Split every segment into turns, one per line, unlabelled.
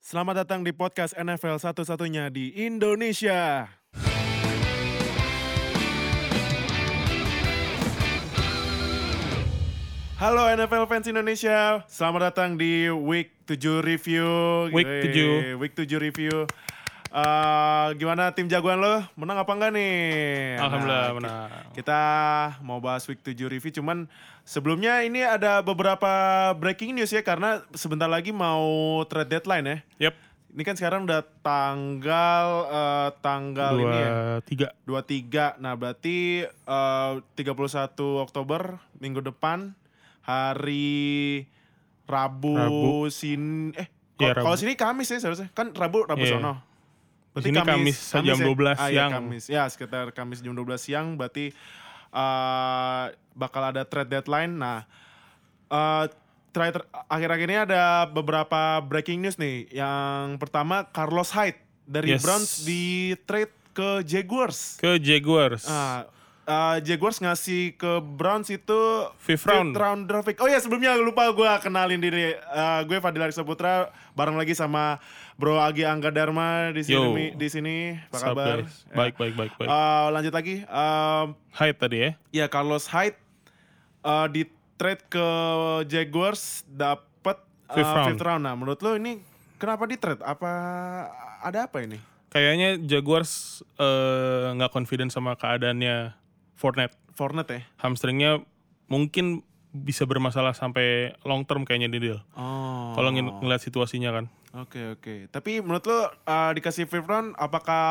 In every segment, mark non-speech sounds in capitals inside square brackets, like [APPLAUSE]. Selamat datang di podcast NFL satu-satunya di Indonesia. Halo NFL fans Indonesia, selamat datang di Week 7 Review.
Week
Yeay, Week 7 Review. Eh, gimana tim jagoan lo? Menang apa enggak nih?
Alhamdulillah
Nah,
menang.
Kita mau bahas week 7 review cuman sebelumnya ini ada beberapa breaking news ya karena sebentar lagi mau trade deadline ya.
Yap.
Ini kan sekarang udah tanggal eh, tanggal
Dua
ini ya.
tiga.
23. Nah, berarti eh, 31 Oktober minggu depan hari Rabu,
Rabu.
sin eh
Iya,
kalau
Rabu.
sini Kamis ya seharusnya. Kan Rabu Rabu
Iya.
sono.
Di sini Kamis, jam
ya?
12
Ah, iya,
siang.
Kamis. Ya, sekitar Kamis jam 12 siang berarti eh, bakal ada trade deadline. Nah, eh terakhir akhir-akhir ini ada beberapa breaking news nih. Yang pertama Carlos Hyde dari
Yes.
Browns di trade ke Jaguars.
Ke Jaguars.
Ah, ah, Jaguars ngasih ke Browns itu
Fifth round.
round draft pick. Oh ya sebelumnya lupa gue kenalin diri. Ah, gue Fadil Arisa Putra bareng lagi sama Bro Agi Angga Dharma di
Yo.
sini. Di sini apa
Sup,
kabar?
guys? Baik, baik, baik, baik.
Ah, lanjut lagi. Ah,
Hyde tadi ya.
ya Carlos Hyde eh, di trade ke Jaguars dapat eh,
Fifth round.
fifth round. Nah menurut lo ini kenapa di trade? Apa ada apa ini?
Kayaknya Jaguars eh, nggak confident sama keadaannya Fortnite.
Fournette ya?
Hamstringnya mungkin bisa bermasalah sampai long term kayaknya di deal.
Oh.
Kalau ngel- ngeliat situasinya kan.
Oke oke. Tapi menurut lo uh, dikasih fifth round apakah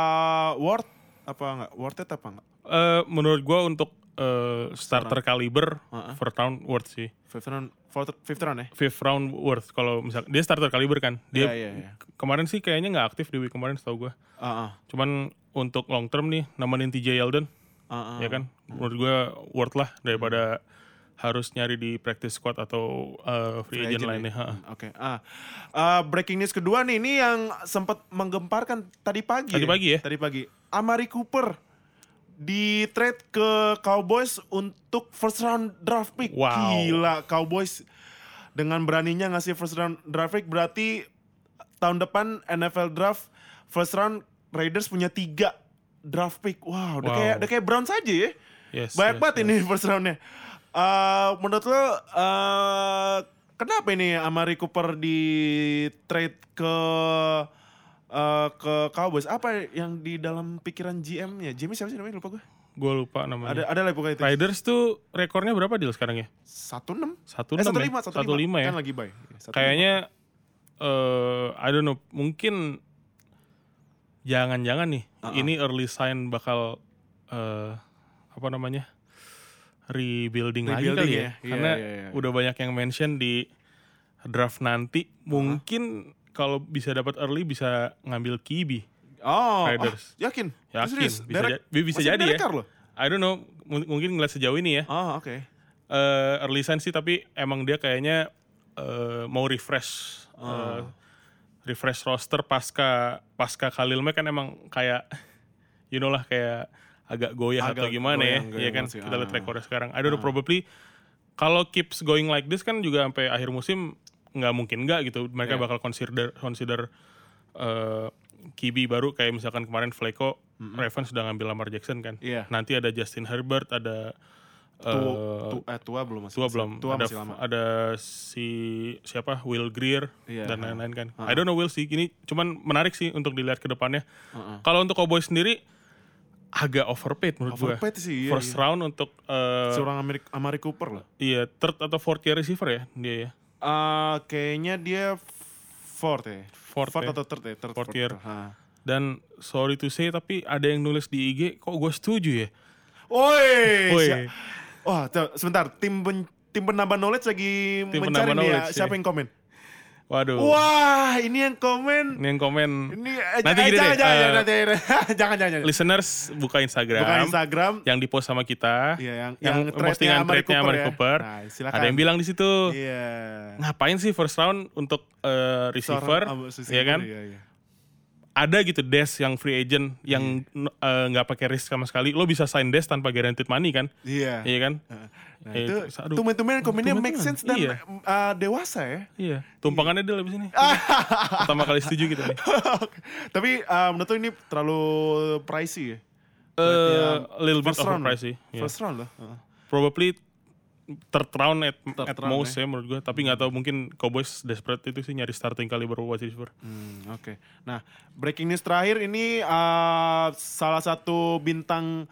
worth apa enggak? Worth it apa enggak?
Eh, menurut gua untuk eh, starter kaliber
Heeh.
fourth round worth sih.
Fifth round, fourth, fifth round ya?
Fifth round worth kalau misal dia starter kaliber kan.
Iya,
Dia
iya, iya.
kemarin sih kayaknya nggak aktif di week kemarin setahu gua.
Heeh.
Cuman untuk long term nih nemenin TJ Yeldon
Heeh.
ya kan menurut gue worth lah daripada harus nyari di practice squad atau uh, free, agent, lainnya. Ha.
Oke. Ah. Uh, breaking news kedua nih ini yang sempat menggemparkan tadi pagi.
Tadi pagi ya?
Tadi pagi. Amari Cooper di trade ke Cowboys untuk first round draft pick.
Wow.
Gila Cowboys dengan beraninya ngasih first round draft pick berarti tahun depan NFL draft first round Raiders punya tiga draft pick. Wow, udah
Wow.
kayak udah kayak Browns aja ya.
Yes,
Banyak
yes,
banget ini first roundnya. Eh, menurut lo eh, kenapa ini Amari Cooper di trade ke eh, ke Cowboys? Apa yang di dalam pikiran GM-nya? GM siapa sih namanya? Lupa gue.
Gue lupa namanya.
Ada ada lah pokoknya itu.
Riders tuh rekornya berapa deal sekarang ya?
16.
Satu
eh,
enam
15,
ya? Satu lima ya.
Kan lagi bye. Satu
Kayaknya eh I don't know mungkin jangan-jangan nih
Ah,
ini early sign bakal eh apa namanya rebuilding, lagi
Rebuilding
kali
ya.
ya,
Iya,
karena
iya, iya. Ah,
udah banyak yang mention di draft nanti mungkin kalau bisa dapat early bisa ngambil Kibi
lima. Oh,
Riders.
ah, yakin?
Yakin,
Serius?
bisa
Derek-
jadi- bisa
masih
jadi
Derek
ya.
Carr loh?
I don't know mung- mungkin ngeliat sejauh ini ya
Oh, oke.
eh early sign sih tapi emang dia kayaknya eh, mau refresh
Ah.
eh, refresh roster pasca pasca Khalil Mack kan emang kayak [LAUGHS] you know lah kayak agak goyah
Agak
atau gimana
goyang,
ya ya
goyang
kan
masih,
kita lihat
ah.
rekornya sekarang I don't know probably kalau keeps going like this kan juga sampai akhir musim nggak mungkin nggak gitu mereka
Yeah.
bakal consider consider eh, Kibi baru kayak misalkan kemarin Fleko Ravens sudah ngambil Lamar Jackson kan
Iya.
nanti ada Justin Herbert ada
Tua,
eh,
tu- eh, tua belum masih.
tua
masih-
belum
Tua
ada
masih lama.
ada si siapa Will Greer
Iya,
dan
ha.
lain-lain kan I don't know Will sih ini cuman menarik sih untuk dilihat ke depannya
Heeh.
kalau untuk Cowboys sendiri agak overpaid menurut gue
Overpaid sih, iya,
first round untuk eh,
Seorang Amari, Amari Cooper lah.
iya third atau fourth year receiver ya dia ya
Eh, kayaknya dia fourth ya.
Fourth ya.
atau third ya? Third,
Fourth year.
Ha.
dan sorry to say tapi ada yang nulis di IG kok gue setuju ya
Oi.
Oi.
sia- Wah, tuh, sebentar. Tim pen, tim penambah knowledge lagi
Tim
mencari
penambah
nih ya.
knowledge,
Siapa
iya.
yang komen?
waduh
Wah, ini yang komen.
ini yang komen
Ini eh,
Hmm. Nanti
eh,
gini
jangan,
deh,
jangan,
eh,
jangan, nanti- jangan, [LAUGHS] jangan, jangan.
listeners buka Instagram
Bukan Instagram.
yang di post sama kita
Iya, yang-
yang,
yang threadnya
postingan
Amari
threadnya
Cooper
Amari
ya.
Cooper,
Nah, silakan.
ada yang bilang di situ
Iya.
ngapain sih first round untuk eh, receiver
Seorang- ah,
ya kan
Iya, iya.
ada gitu Des yang free agent yang n- eh, nggak pakai risk sama sekali. Lo bisa sign Des tanpa guaranteed money kan?
Iya.
Iya kan?
Nah,
Eh,
itu
terus, aduh.
tumen-tumen komennya make
Tumen-tumen,
sense dan
iya.
uh, dewasa ya. [LAUGHS]
Iya. Tumpangannya Del abis ini. Pertama kali setuju gitu nih.
Tapi uh, menurut lo ini terlalu pricey ya.
Eh, little bit
First round.
overpriced sih. Iya.
First round loh. Heeh.
Probably third round at,
Third
at
round,
most ya menurut gue. Tapi nggak tahu mungkin Cowboys desperate itu sih nyari starting caliber wide receiver.
Hmm, Oke. Nah, breaking news terakhir ini uh, salah satu bintang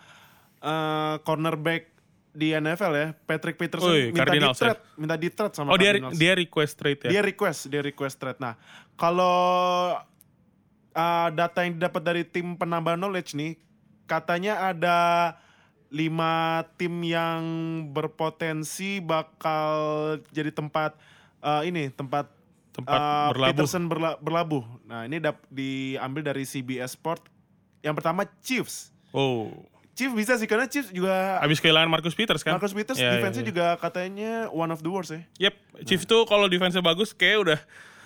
uh, cornerback di NFL ya, Patrick Peterson
Ui,
minta di
Cardinals ya?
trade, minta di trade sama
Oh dia
Cardinals.
dia request trade ya?
Dia request, dia request trade. Nah, kalau uh, data yang didapat dari tim penambah knowledge nih, katanya ada lima tim yang berpotensi bakal jadi tempat uh, ini tempat
Tempat
Uh,
berlabuh.
Peterson berla- berlabuh. Nah, ini dap- diambil dari CBS Sport. Yang pertama Chiefs.
Oh.
Chiefs bisa sih karena Chiefs juga
Abis kehilangan Marcus Peters kan?
Marcus Peters
Iya, iya,
defense-nya
iya.
juga katanya one of the worst ya.
Yep, Chiefs tuh kalau defense-nya bagus kayak udah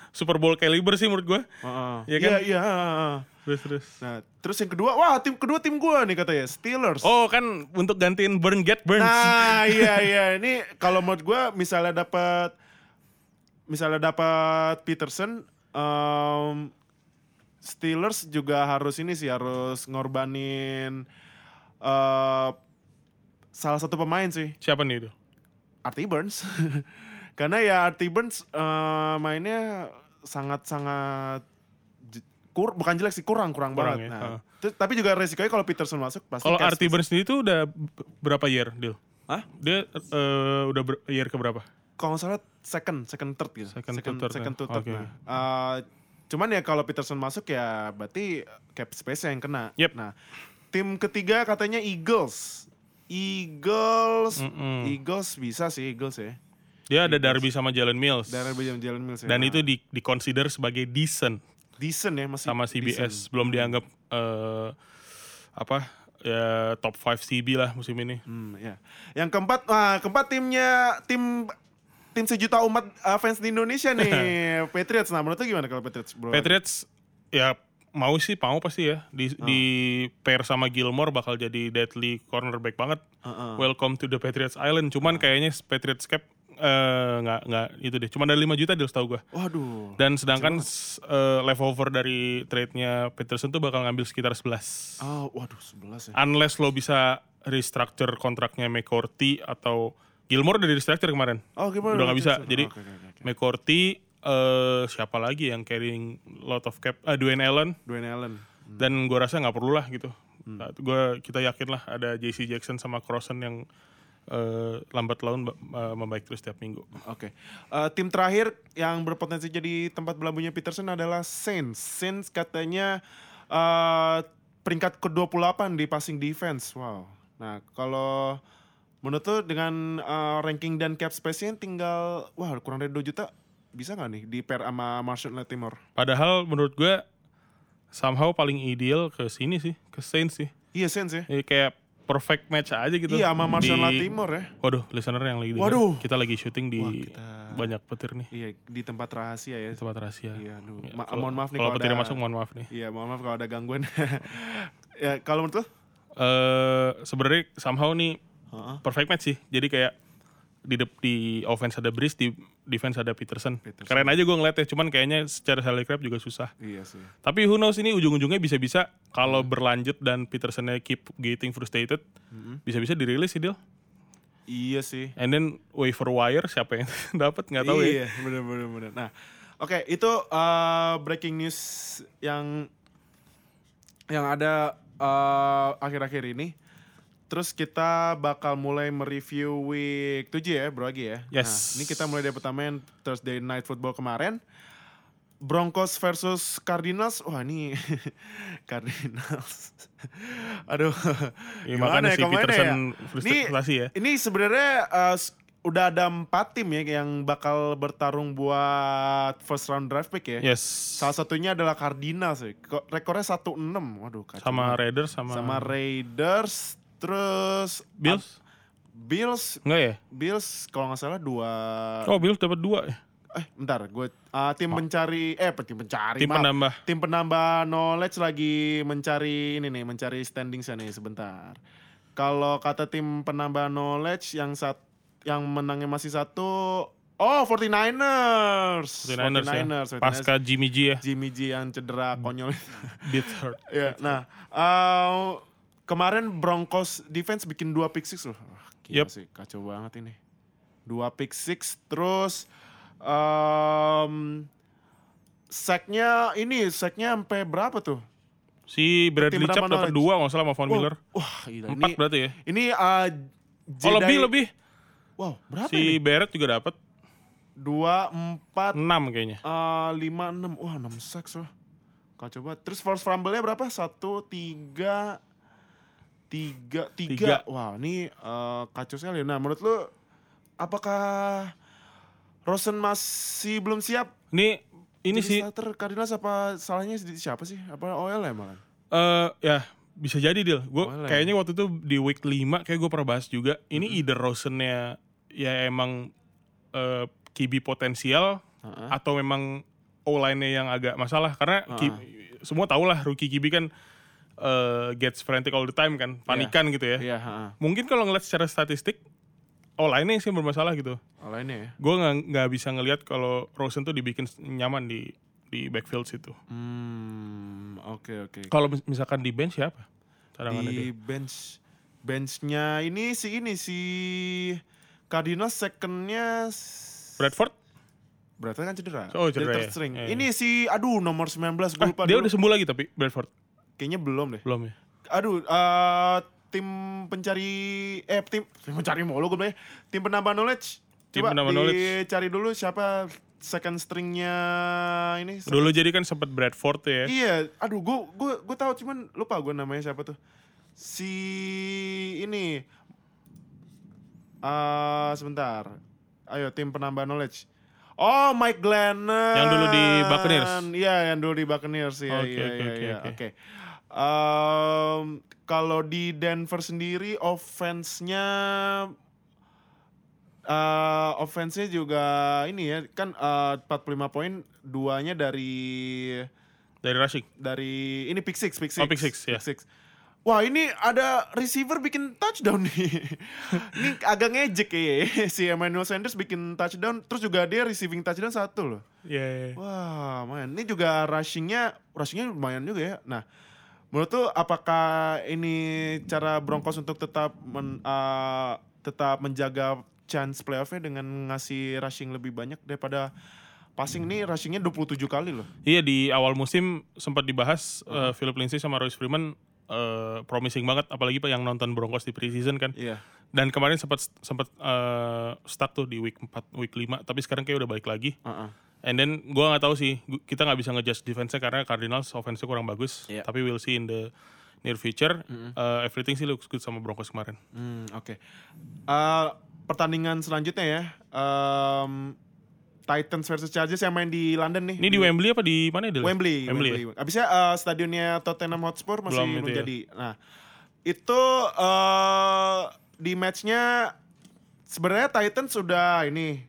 Super Bowl caliber sih menurut gua.
Heeh.
Iya
Iya,
kan?
iya. heeh.
Terus terus.
Nah, terus yang kedua, wah tim kedua tim gua nih katanya Steelers.
Oh kan untuk gantiin Burn Get Burns.
Nah,
[LAUGHS]
iya iya. Ini kalau menurut gua misalnya dapat misalnya dapat Peterson em, Steelers juga harus ini sih harus ngorbanin eh, salah satu pemain sih,
Siapa nih itu?
Artie Burns. [LAUGHS] Karena ya Artie Burns eh, mainnya sangat-sangat j- kur bukan jelek sih kurang kurang,
Kurang
banget.
ya,
Nah,
heeh.
terus- tapi juga resikonya kalau Peterson masuk pasti
Kalau
cash
Artie
sih.
Burns sendiri tuh udah b- berapa year deal?
Hah?
Dia eh, udah ber- year ke berapa?
kalau nggak salah second, second third gitu.
Second to
second,
third,
second
ya.
to third.
Oke.
Nah, eh, cuman ya kalau Peterson masuk ya berarti cap space yang kena.
Yep.
Nah, tim ketiga katanya Eagles. Eagles,
Mm-mm.
Eagles bisa sih Eagles ya.
Dia ada Darby sama Jalen Mills.
Darren Williams, Jalen Mills. ya.
Dan
Nah,
itu di di consider sebagai decent
decent ya masih.
sama
decent.
CBS, belum dianggap eh, apa? Ya top 5 CB lah musim ini.
Hmm, ya. Yang keempat, ah, keempat timnya tim tim sejuta umat eh, fans di Indonesia
[LAUGHS]
nih Patriots. Nah, menurut lu gimana kalau Patriots bro?
Patriots ya mau sih mau pasti ya di di pair sama Gilmore bakal jadi deadly cornerback banget.
Heeh.
Welcome to the Patriots Island. Cuman kayaknya Patriots cap eh, nggak nggak itu deh. Cuma ada 5 juta deal setahu gua.
Waduh.
Dan sedangkan s- eh, leftover dari trade-nya Peterson tuh bakal ngambil sekitar 11.
Ah, waduh 11 ya.
Unless lo bisa restructure kontraknya McCourty atau Gilmore udah di restructure kemarin.
Oh, gimana?
udah nggak bisa.
Patriots?
Jadi
Oh, oke, oke, oke, oke.
McCourty eh, siapa lagi yang carrying lot of cap? Ah, Dwayne Allen.
Dwayne Allen.
dan gue rasa nggak perlu lah gitu
Hmm.
gue kita yakin lah ada JC Jackson sama Crossan yang eh, lambat laun ba- eh, membaik terus setiap minggu
Oke. Eh, tim terakhir yang berpotensi jadi tempat berlabuhnya Peterson adalah Saints. Saints katanya eh, peringkat ke-28 di passing defense. Wow. Nah, kalau menurut lu dengan eh, ranking dan cap space-nya tinggal wah kurang dari 2 juta bisa nggak nih di pair sama Marshall Latimore?
padahal menurut gue somehow paling ideal ke sini sih ke Saints sih
Iya Saints ya.
Ini kayak perfect match aja gitu
Iya sama Marshall
Di-
Latimore ya.
waduh listener yang lagi
Waduh.
kita lagi syuting di
Wah, kita-
banyak petir nih
Iya di tempat rahasia ya.
di tempat rahasia
Iya, aduh.
Ya,
Ma-
kalau-
mohon maaf nih
kalau
kalau
petirnya
ada-
masuk mohon maaf nih
Iya, mohon maaf kalau ada gangguan. [LAUGHS] ya, kalau menurut lu?
eh sebenarnya somehow nih
Heeh.
perfect match sih. Jadi kayak di dep- di offense ada Breeze, di defense ada Peterson.
Peterson.
Keren aja gue ngeliatnya, cuman kayaknya secara salary cap juga susah.
Iya sih.
Tapi who knows ini ujung-ujungnya bisa-bisa kalau
Hmm.
berlanjut dan Petersonnya keep getting frustrated,
Hmm.
bisa-bisa dirilis sih deal.
Iya sih.
And then waiver wire siapa yang [LAUGHS] dapat nggak tahu ya.
iya, bener bener bener. Nah, oke itu uh, breaking news yang yang ada uh, akhir-akhir ini. Terus kita bakal mulai mereview week 7 ya, Bro Agi ya.
Yes.
Nah, ini kita mulai dari pertama yang Thursday Night Football kemarin. Broncos versus Cardinals. Wah, ini [LAUGHS] Cardinals. [LAUGHS] Aduh.
Ya,
gimana
makanya
ya,
si
kemana ya?
Peterson
Ini-
frustrasi ya.
ini sebenarnya uh, s- udah ada empat tim ya yang bakal bertarung buat first round draft pick ya.
Yes.
Salah satunya adalah Cardinals sih. Ko- Rekornya 1-6. Waduh kacau.
Sama
banget.
Raiders sama,
sama Raiders terus ah,
Bills.
Bills
Enggak ya?
Bills kalau nggak salah dua
Oh, Bills dapat dua ya.
eh bentar gue ah, tim mencari eh tim mencari
Tim
maaf.
penambah.
tim penambah knowledge lagi mencari ini nih mencari standing sana nih sebentar kalau kata tim penambah knowledge yang sat yang menangnya masih satu oh 49ers
49ers, ya.
49ers, 49ers.
Pasca Jimmy G ya.
Jimmy G yang cedera konyol
Beat hurt.
ya nah eh, kemarin Broncos defense bikin dua pick six loh Wah, gila
Yep.
sih kacau banget ini dua pick six terus em sacknya ini sacknya sampai berapa tuh
Si Bradley
Tim Penambah
Chubb dapat
Knowledge.
dua kalau nggak salah sama Von Miller.
wah gila
Empat
ini
berarti ya.
ini eh,
Oh
Jedi-
lebih lebih.
wow berapa ini
Si Barrett juga dapat
dua empat
enam kayaknya.
eh, lima enam wah enam sacks loh kacau banget terus force fumble-nya berapa satu tiga tiga
Tiga.
tiga wah ini eh, kacau sekali nah menurut lu apakah Rosen masih belum siap
Ini ini
jadi
sih
starter Cardinals apa salahnya di- siapa sih apa OL ya malah
eh ya bisa jadi deal. Gue
Boleh.
kayaknya waktu itu di week 5 kayak gue pernah bahas juga. Ini either Rosen-nya ya emang eh kibi potensial
Heeh.
atau memang O-line-nya yang agak masalah karena ki- semua tau lah rookie kibi kan eh gets frantic all the time kan, panikan gitu ya.
iya heeh.
Mungkin kalau ngeliat secara statistik O-line-nya sih yang bermasalah gitu.
OL ini ya
Gue nggak nggak bisa ngelihat kalau Rosen tuh dibikin nyaman di di backfield situ.
hmm oke oke
Kalau mis- misalkan di bench siapa? Cadangannya dia.
di bench benchnya ini si ini si Cardinals secondnya s-
Bradford?
Bradford kan cedera.
Oh,
Jadi
cedera ya.
third string.
Iya, Ah,
Ini si aduh nomor 19 gue lupa
dia
dulu.
udah sembuh lagi tapi Bradford
kayaknya belum deh.
belum ya.
Aduh eh, tim pencari eh tim, [LAUGHS] tim pencari mulu gue bilang ya. Tim penambah knowledge.
Tim
Coba
penambah knowledge.
dicari dulu siapa second stringnya ini.
Dulu jadi kan sempat Bradford ya.
Iya, aduh gue gue gue tahu cuman lupa gue namanya siapa tuh. Si ini eh sebentar. Ayo tim penambah knowledge. Oh, Mike Glennon.
Yang dulu di Buccaneers.
Iya, yang dulu di Buccaneers ya.
Oke,
iya,
oke,
iya,
oke,
iya.
oke.
Oke. Em, kalau di Denver sendiri offense-nya eh offense-nya juga ini ya kan eh, 45 poin duanya dari
Dari Rashik.
dari ini pick six, pick six.
Oh, pick six, ya.
six. Wah ini ada receiver bikin touchdown
[LAUGHS]
nih. ini agak ngejek ya [LAUGHS] si Emmanuel Sanders bikin touchdown. Terus juga dia receiving touchdown satu loh.
Iya.
Wah man, ini juga rushingnya, rushingnya lumayan juga ya. Nah menurut tuh apakah ini cara Broncos untuk tetap men- eh, tetap menjaga chance playoffnya dengan ngasih rushing lebih banyak daripada passing ini rushingnya 27 kali loh.
Iya di awal musim sempat dibahas eh, Philip Lindsay sama Royce Freeman eh, promising banget apalagi Pak yang nonton Broncos di preseason kan.
Iya.
Dan kemarin sempat sempat eh, stuck tuh di week 4, week 5, tapi sekarang kayak udah balik lagi.
Heeh.
And then gua nggak tahu sih, gu- kita nggak bisa ngejudge defense-nya karena Cardinals offense-nya kurang bagus.
Iya.
Tapi we'll see in the near future. Eh, everything sih looks good sama Broncos kemarin.
Hmm, oke. Eh, pertandingan selanjutnya ya. Em, Titans versus Chargers yang main di London nih.
Ini di Wembley apa di mana ya? Del?
Iya. Wembley.
Wembley. ya?
Abisnya eh, stadionnya Tottenham Hotspur masih
Belum
belum,
itu ya.
jadi. Nah, itu eh di matchnya sebenarnya Titans sudah ini.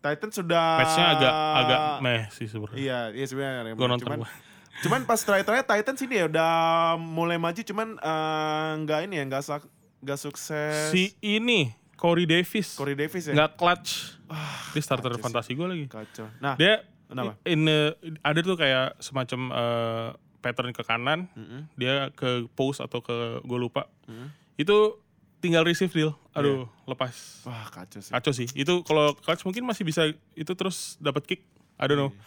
Titans sudah
Matchnya agak agak
Ah.
meh sih sebenarnya.
Iya, iya sebenarnya.
Gua nonton
cuman,
gua.
[LAUGHS] cuman pas terakhir-terakhir Titans ini ya udah mulai maju cuman eh, nggak ini ya nggak sak- nggak sukses.
Si ini Corey Davis
Corey Davis ya.
nggak clutch.
Ah,
Dia starter fantasi gue lagi.
Kacau. Nah,
Dia
Kenapa?
in the- ada tuh kayak semacam eh, pattern ke kanan, dia ke post atau ke gue lupa. Itu tinggal receive deal.
Iya.
Aduh, lepas.
wah kacau sih.
Kacau sih. Itu kalau clutch mungkin masih bisa itu terus dapat kick. I don't know.
Iya.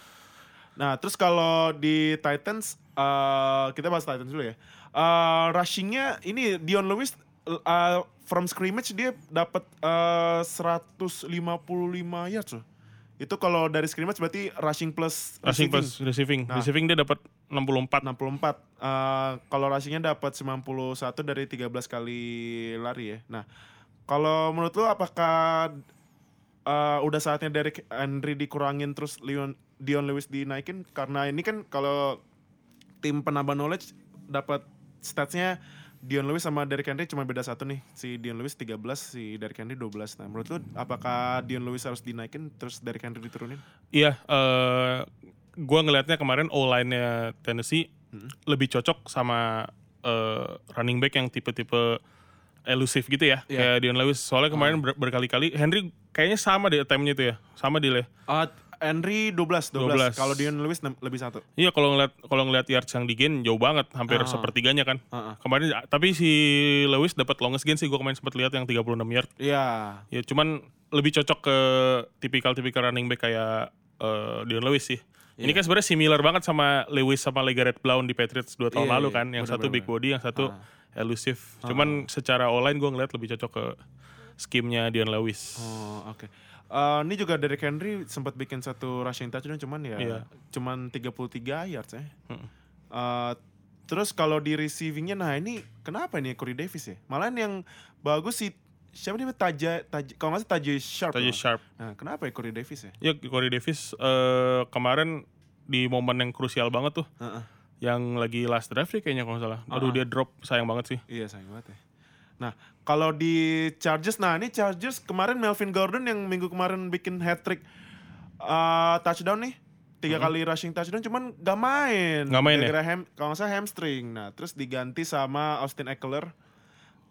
Nah, terus kalau di Titans, eh, kita bahas Titans dulu ya. Eh, rushingnya ini Dion Lewis eh, from scrimmage dia dapat eh, 155 yards loh. Itu kalau dari scrimmage berarti rushing plus receiving.
Rushing
Nah.
plus receiving. Receiving dia dapat 64.
64. Eh, kalau rushingnya dapat 91 dari 13 kali lari ya. Nah, kalau menurut lu apakah eh, udah saatnya Derek Henry dikurangin terus Leon, Dion Lewis dinaikin? Karena ini kan kalau tim penambah knowledge dapat statsnya Dion Lewis sama Derrick Henry cuma beda satu nih. Si Dion Lewis 13, si Derrick Henry 12. Nah, menurut lu apakah Dion Lewis harus dinaikin terus Derrick Henry diturunin?
Iya, eh gua ngelihatnya kemarin O-line-nya Tennessee
Hmm.
lebih cocok sama eh, running back yang tipe-tipe elusive gitu ya.
Iya. Oh.
Kayak Dion Lewis. Soalnya kemarin ber- berkali-kali Henry kayaknya sama deh attempt-nya itu ya. Sama deal ya.
Ah, Henry 12, 12.
12.
Kalau Dion Lewis nem- lebih satu.
Iya, kalau ngeliat kalau ngeliat yards yang di gain jauh banget, hampir sepertiganya kan.
Ah, ah.
Kemarin tapi si Lewis dapat longest gain sih gua kemarin sempat lihat yang 36 yard.
Iya.
Ya cuman lebih cocok ke tipikal-tipikal running back kayak eh, Dion Lewis sih.
Iya.
Ini kan sebenarnya similar banget sama Lewis sama Legarrette Blount di Patriots dua tahun
Iya,
lalu
iya, Ah.
kan. Yang
benar,
satu
benar,
big body, yang satu elusive. Cuman secara online gue ngeliat lebih cocok ke skimnya Dion Lewis.
Oh, oke. Eh, ini juga Derrick Henry sempat bikin satu rushing touchdown cuman ya
Iya.
cuman 33 yards ya.
Mm.
Eh, terus kalau di receivingnya nah ini kenapa ini Corey Davis ya? Malahan yang bagus si siapa dia Taja Taja kalau nggak sih Taja Sharp.
Tajay
kalau nggak.
Sharp.
Nah, kenapa ya Corey Davis ya?
Ya Corey Davis eh, kemarin di momen yang krusial banget tuh.
Heeh. Ah.
Yang lagi last drive sih kayaknya kalau nggak salah. Aduh dia drop, sayang banget sih.
Iya sayang banget ya. Nah, kalau di Chargers, nah ini Chargers kemarin Melvin Gordon yang minggu kemarin bikin hat trick touchdown nih. Tiga kali rushing touchdown cuman gak main.
Nggak main ya?
Gara-gara ham, kalau nggak salah hamstring. Nah, terus diganti sama Austin Eckler.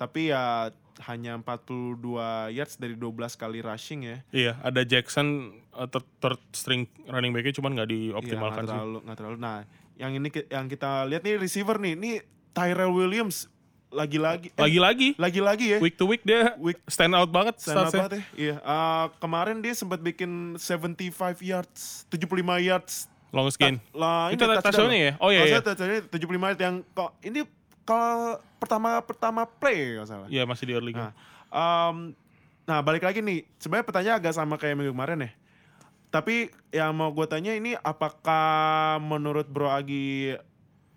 Tapi ya hanya 42 yards dari 12 kali rushing ya.
Iya, ada Jackson eh, third, third string running back-nya cuman nggak
Iya, nggak
dioptimalkan sih.
terlalu, nggak terlalu. Nah, yang ini ki- yang kita lihat nih receiver nih, ini Tyrell Williams lagi-lagi eh,
Lagi-lagi
lagi-lagi ya.
week to week dia
Week-
stand out banget
Stand up
statsnya.
banget ya. Iya. Ah, kemarin dia sempat bikin 75 yards, 75 yards.
Longest gain.
Lah,
Itu ada touchdown-nya ya? Oh, iya, iya.
Touchdown 75 yards yang kok ini kalau pertama pertama play nggak salah.
Iya masih di early game.
Nah, em, nah, balik lagi nih. Sebenarnya pertanyaan agak sama kayak minggu kemarin ya. Tapi yang mau gue tanya ini apakah menurut Bro Agi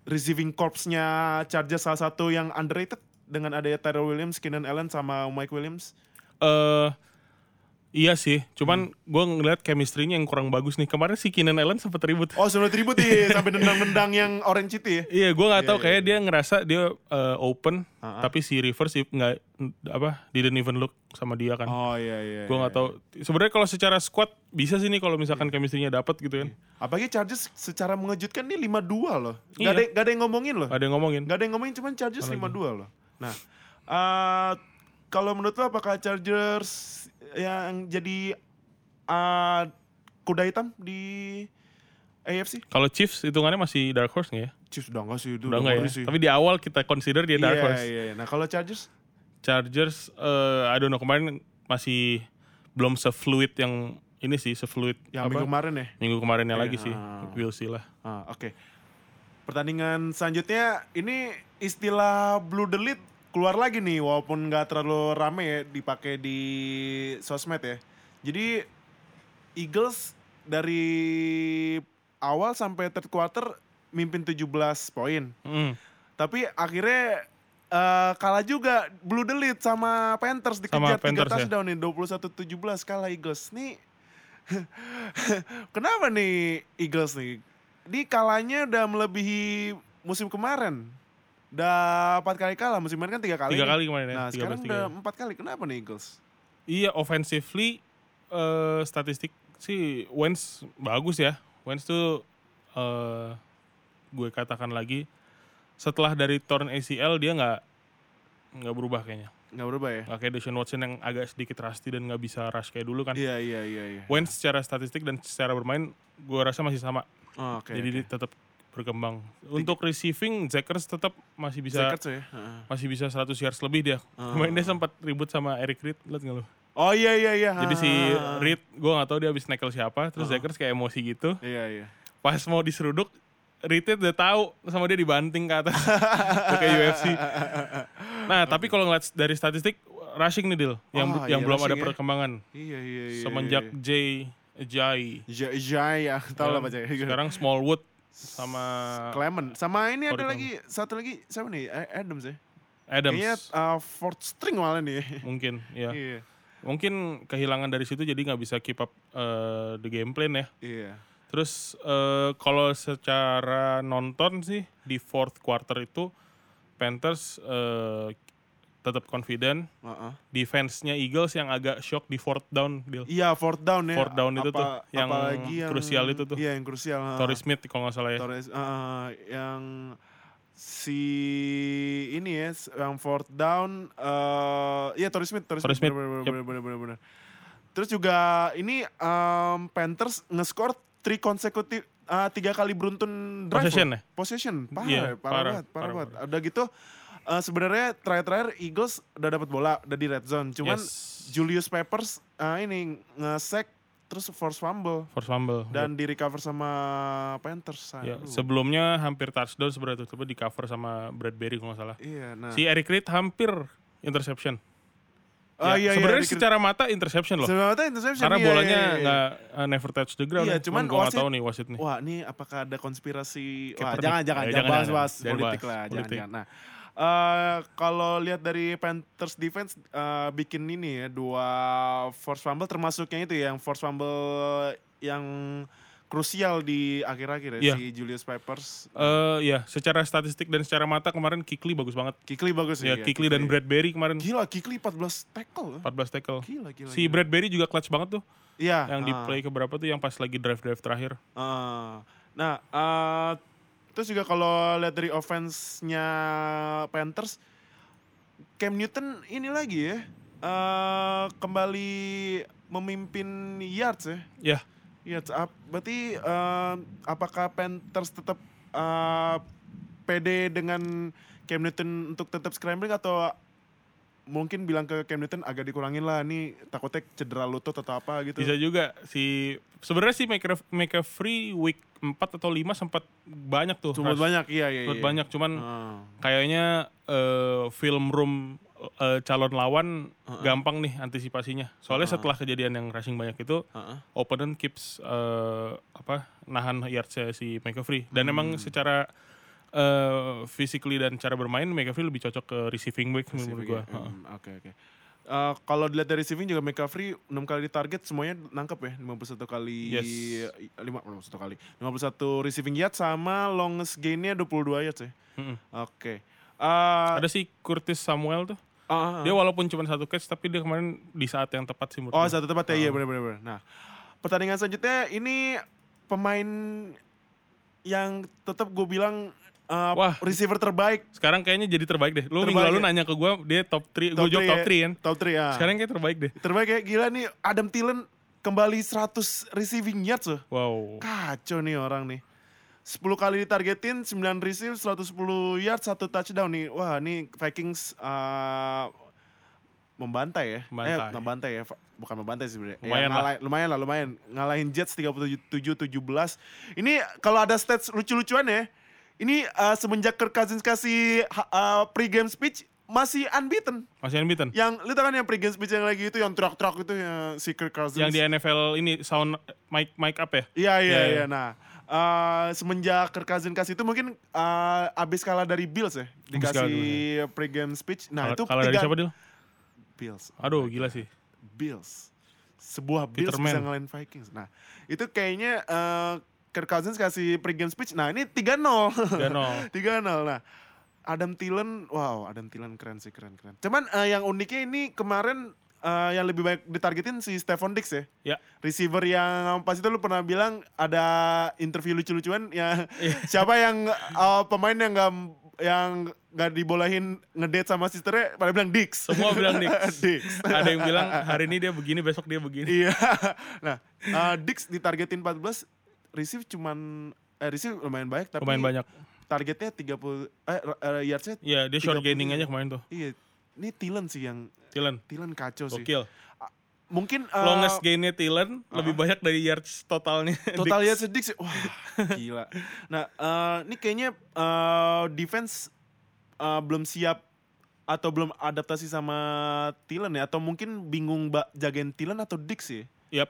receiving corps-nya Chargers salah satu yang underrated dengan adanya Tyrell Williams, Keenan Allen sama Mike Williams?
Eh, iya sih,
Hmm.
cuman gua gue ngeliat chemistry-nya yang kurang bagus nih. Kemarin si Keenan Allen sempat ribut.
Oh sebelum tribut nih sampai nendang-nendang yang orange itu ya.
Iya, gua nggak
Iya,
tahu
iya,
kayak dia ngerasa dia eh, open,
Ah, ah.
tapi si Rivers i- nggak apa didn't even look sama dia kan.
Oh iya iya.
Gua nggak
iya.
tahu. Sebenarnya kalau secara squad bisa sih nih kalau misalkan chemistry-nya dapat gitu kan.
Apalagi Chargers secara mengejutkan nih 5-2 loh. Gak,
Iya.
ada, gak ada yang ngomongin loh.
Ada yang ngomongin.
Gak ada yang ngomongin cuman Chargers 5-2 loh. Nah, eh, kalau menurut lo apakah Chargers yang jadi eh, kuda hitam di AFC?
Kalau Chiefs hitungannya masih dark horse nggak ya?
Chiefs udah gak sih itu.
Udah nggak
ngeri
ya?
sih.
Tapi di awal kita consider dia dark
Iya,
horse.
iya, iya. Nah kalau Chargers?
Chargers, eh I don't know kemarin masih belum sefluid yang ini sih sefluid
Yang
apa?
minggu kemarin ya?
minggu kemarinnya
Iya.
lagi sih we'll see lah
Ah, oke. Pertandingan selanjutnya ini istilah blue delete keluar lagi nih walaupun nggak terlalu rame ya dipakai di sosmed ya. Jadi Eagles dari awal sampai third quarter mimpin 17 poin.
Mm.
Tapi akhirnya eh, kalah juga blue delete sama Panthers dikejar
Sama Panthers, ya.
tiga touchdown nih 21-17 kalah Eagles nih. [LAUGHS] Kenapa nih Eagles nih? Di kalahnya udah melebihi musim kemarin. Udah empat kali kalah, musim kemarin kan tiga kali.
tiga
nih.
kali kemarin ya
Nah,
13,
sekarang
tiga
udah
ya.
empat kali. Kenapa nih Eagles?
iya offensively eh, statistik sih Wentz bagus ya Wentz tuh eh gue katakan lagi setelah dari torn ACL dia nggak nggak berubah kayaknya
Nggak berubah ya?
nggak kayak Deshaun Watson yang agak sedikit rusty dan nggak bisa rush kayak dulu kan
Iya, iya, iya, iya.
Wentz secara statistik dan secara bermain gue rasa masih sama
Oh, Oke.
jadi dia tetap berkembang untuk receiving Zekers tetap masih bisa
Sekert sih. ya? heeh.
masih bisa 100 yards lebih dia.
Ah.
Kemarin dia sempat ribut sama Eric Reed, liat nggak lu?
Oh iya iya iya.
Jadi si
Ah,
Reed, gue nggak tahu dia habis nekel siapa, terus Zekers kayak emosi gitu.
Iya iya. [LAUGHS]
Pas mau diseruduk, Reednya udah tahu sama dia dibanting ke
[LAUGHS]
atas Udah kayak UFC. Nah, tapi kalau ngeliat dari statistik rushing nih Dil, yang
Oh,
yang
iya,
belum ada
rushing ya.
perkembangan
Iya iya iya.
semenjak Jay Jai.
Jaya, Jaya. tau ya, lah baca. [LAUGHS]
Sekarang Smallwood sama
Clement. Sama ini ada
Corey
lagi satu lagi siapa nih? A- Adams ya.
Adams
Kayaknya uh, fourth string malah nih.
mungkin ya.
[LAUGHS] Iya.
Mungkin kehilangan dari situ jadi nggak bisa keep up eh, the game plan ya.
Iya.
Terus eh, kalau secara nonton sih di fourth quarter itu Panthers eh, tetap confident.
Heeh.
Defense-nya Eagles yang agak shock di fourth down, Dil.
Iya, fourth down ya.
Fourth down itu tuh, yang
apalagi
krusial itu tuh.
Iya, yang krusial. ha.
Torrey Smith kalau nggak salah ya.
Torres, ah, yang si ini ya, s- yang fourth down, eh iya Torres Smith, Torres
Torrey Smith,
bener, bener,
yep.
bener, bener, bener, bener. Terus juga ini em, Panthers nge-score 3 konsekutif, eh, tiga kali beruntun drive.
Possession
loh.
ya?
Possession, parah,
Iya,
ya, parah,
parah,
banget, parah,
parah
banget. Udah gitu, eh, sebenarnya terakhir-terakhir Eagles udah dapat bola, udah di red zone. Cuman
Yes.
Julius Peppers eh, ini nge-sack, terus force fumble.
Force fumble.
Dan di recover sama Panthers.
Ya,
Aduh.
sebelumnya hampir touchdown sebenarnya tuh, tapi di cover sama Bradbury kalau nggak salah.
Iya, nah.
Si Eric Reed hampir interception.
Ah, iya,
Ya,
iya,
sebenarnya
Ricky-
secara mata interception loh.
sebenarnya mata interception.
Karena
iya,
bolanya
iya, iya.
nggak uh, never touch the ground.
Iya,
ya.
cuman
gua nggak
wasit-
tahu nih wasit nih.
Wah, ini apakah ada konspirasi? Wah,
Kaepernick.
jangan, jangan,
Eh,
jangan
jangan,
bahas,
jangan.
bahas
Jangan
politik
bahas
lah, jangan,
politik.
jangan. Nah, eh, kalau lihat dari Panthers defense eh, bikin ini ya dua force fumble termasuknya itu ya, yang force fumble yang krusial di akhir-akhir ya
Iya.
si Julius Peppers.
Eh, ya, secara statistik dan secara mata kemarin Kikli bagus banget.
Kikli bagus ya.
Ya, Kikli dan Bradbury kemarin
Gila, Kikli 14 tackle.
14 tackle.
Gila, gila.
Si
gila.
Bradbury juga clutch banget tuh.
Iya,
Yang di
ah.
play keberapa tuh yang pas lagi drive-drive terakhir.
Ah, nah, ah, terus juga kalau lihat dari offense-nya Panthers, Cam Newton ini lagi ya eh, kembali memimpin yards ya,
Ya,
yards up. Berarti eh, apakah Panthers tetap eh, pede dengan Cam Newton untuk tetap scrambling atau mungkin bilang ke Cam Newton agak dikurangin lah nih takutnya cedera lutut atau apa gitu.
bisa juga si sebenarnya si McCaff- McCaffrey week 4 atau 5 sempat banyak tuh.
Cuma
rush.
banyak, iya iya.
Sempat
iya.
banyak cuman
Ah.
kayaknya eh, film room eh, calon lawan gampang nih antisipasinya. Soalnya setelah kejadian yang rushing banyak itu,
Ah.
opponent keeps eh, apa nahan yardsnya si McAfee. Dan
Hmm.
emang secara eh, physically dan cara bermain McAfee lebih cocok ke receiving back menurut gua.
Receiving ya,
Heeh.
mm, Oke oke. Eh, kalau dilihat dari receiving juga McCaffrey 6 kali di target semuanya nangkep ya 51 kali
Yes.
lima 51 kali 51 receiving yard sama longest gainnya 22 yards ya.
Mm-mm.
Oke. Eh,
Ada si Curtis Samuel tuh.
ah, ah, ah.
Dia walaupun cuma satu catch tapi dia kemarin di saat yang tepat sih
Oh
menurut gua.
satu tempat ya iya benar benar. benar. Nah pertandingan selanjutnya ini pemain yang tetap gue bilang eh,
Wah.
receiver terbaik
Sekarang kayaknya jadi terbaik deh. Lu
Terbaik
minggu lalu
ya?
nanya ke gua dia top 3, gua jawab
three ya.
top 3 kan.
top 3 ya.
Sekarang kayak terbaik deh.
terbaik ya gila nih Adam Thielen kembali 100 receiving yards loh.
Wow.
Kacau nih orang nih. 10 kali ditargetin, 9 receive, 110 yard, 1 touchdown nih. Wah, nih Vikings eh, membantai ya.
Membantai.
Eh, membantai ya. Fa- Bukan membantai sih sebenarnya.
Lumayan lah.
ngalai- lumayan lah, lumayan. Ngalahin Jets 37-17. Ini kalau ada stats lucu-lucuan ya. Ini eh, semenjak Kirk Cousins kasih ha- eh, pre-game speech masih unbeaten.
Masih unbeaten.
Yang lu tau kan yang pre-game speech yang lagi itu yang truk-truk itu yang si Kirk Cousins.
yang di NFL ini sound mic mic up ya.
Iya iya
Ya,
iya. Nah, eh, semenjak Kirk Cousins kasih itu mungkin eh, abis kalah dari Bills ya,
kalah
dikasih
dari
pre-game speech. Nah
Kalau
itu
kalau dari
tiga-
siapa Dil?
Bills,
Aduh gila sih.
Bills, sebuah Bills
Peterman.
bisa ngalahin Vikings. Nah itu kayaknya eh, Kirk Cousins kasih pre-game speech. Nah ini 3-0. [LAUGHS]
3-0.
3-0. Nah Adam Thielen, wow Adam Thielen keren sih keren keren. Cuman eh, yang uniknya ini kemarin eh, yang lebih banyak ditargetin si Stephon Dix ya
Ya.
receiver yang pas itu lu pernah bilang ada interview lucu-lucuan ya
Iya.
[LAUGHS] siapa yang uh, pemain yang nggak yang nggak dibolehin ngedate sama sisternya pada bilang Dix
Semua bilang Dix.
[LAUGHS] Dix
Ada yang bilang hari ini dia begini, besok dia begini.
iya nah uh, Dix ditargetin 14 receive cuman eh, receive lumayan banyak tapi
Pemain banyak. targetnya
targetnya 30 eh eh, yardsnya
Iya, dia
30.
short gaining aja kemarin tuh.
iya ini Tilen sih yang
Tilen.
Tilen kacau sih
Gokil.
mungkin uh,
Longest gainnya Tilen lebih banyak dari yards totalnya. [LAUGHS]
Total
Dix.
yards sedik sih. Wah, [LAUGHS] gila. Nah, eh, ini kayaknya eh, defense eh, belum siap atau belum adaptasi sama Tilen ya atau mungkin bingung ba- jagain Tilen atau Dix sih,
Yap.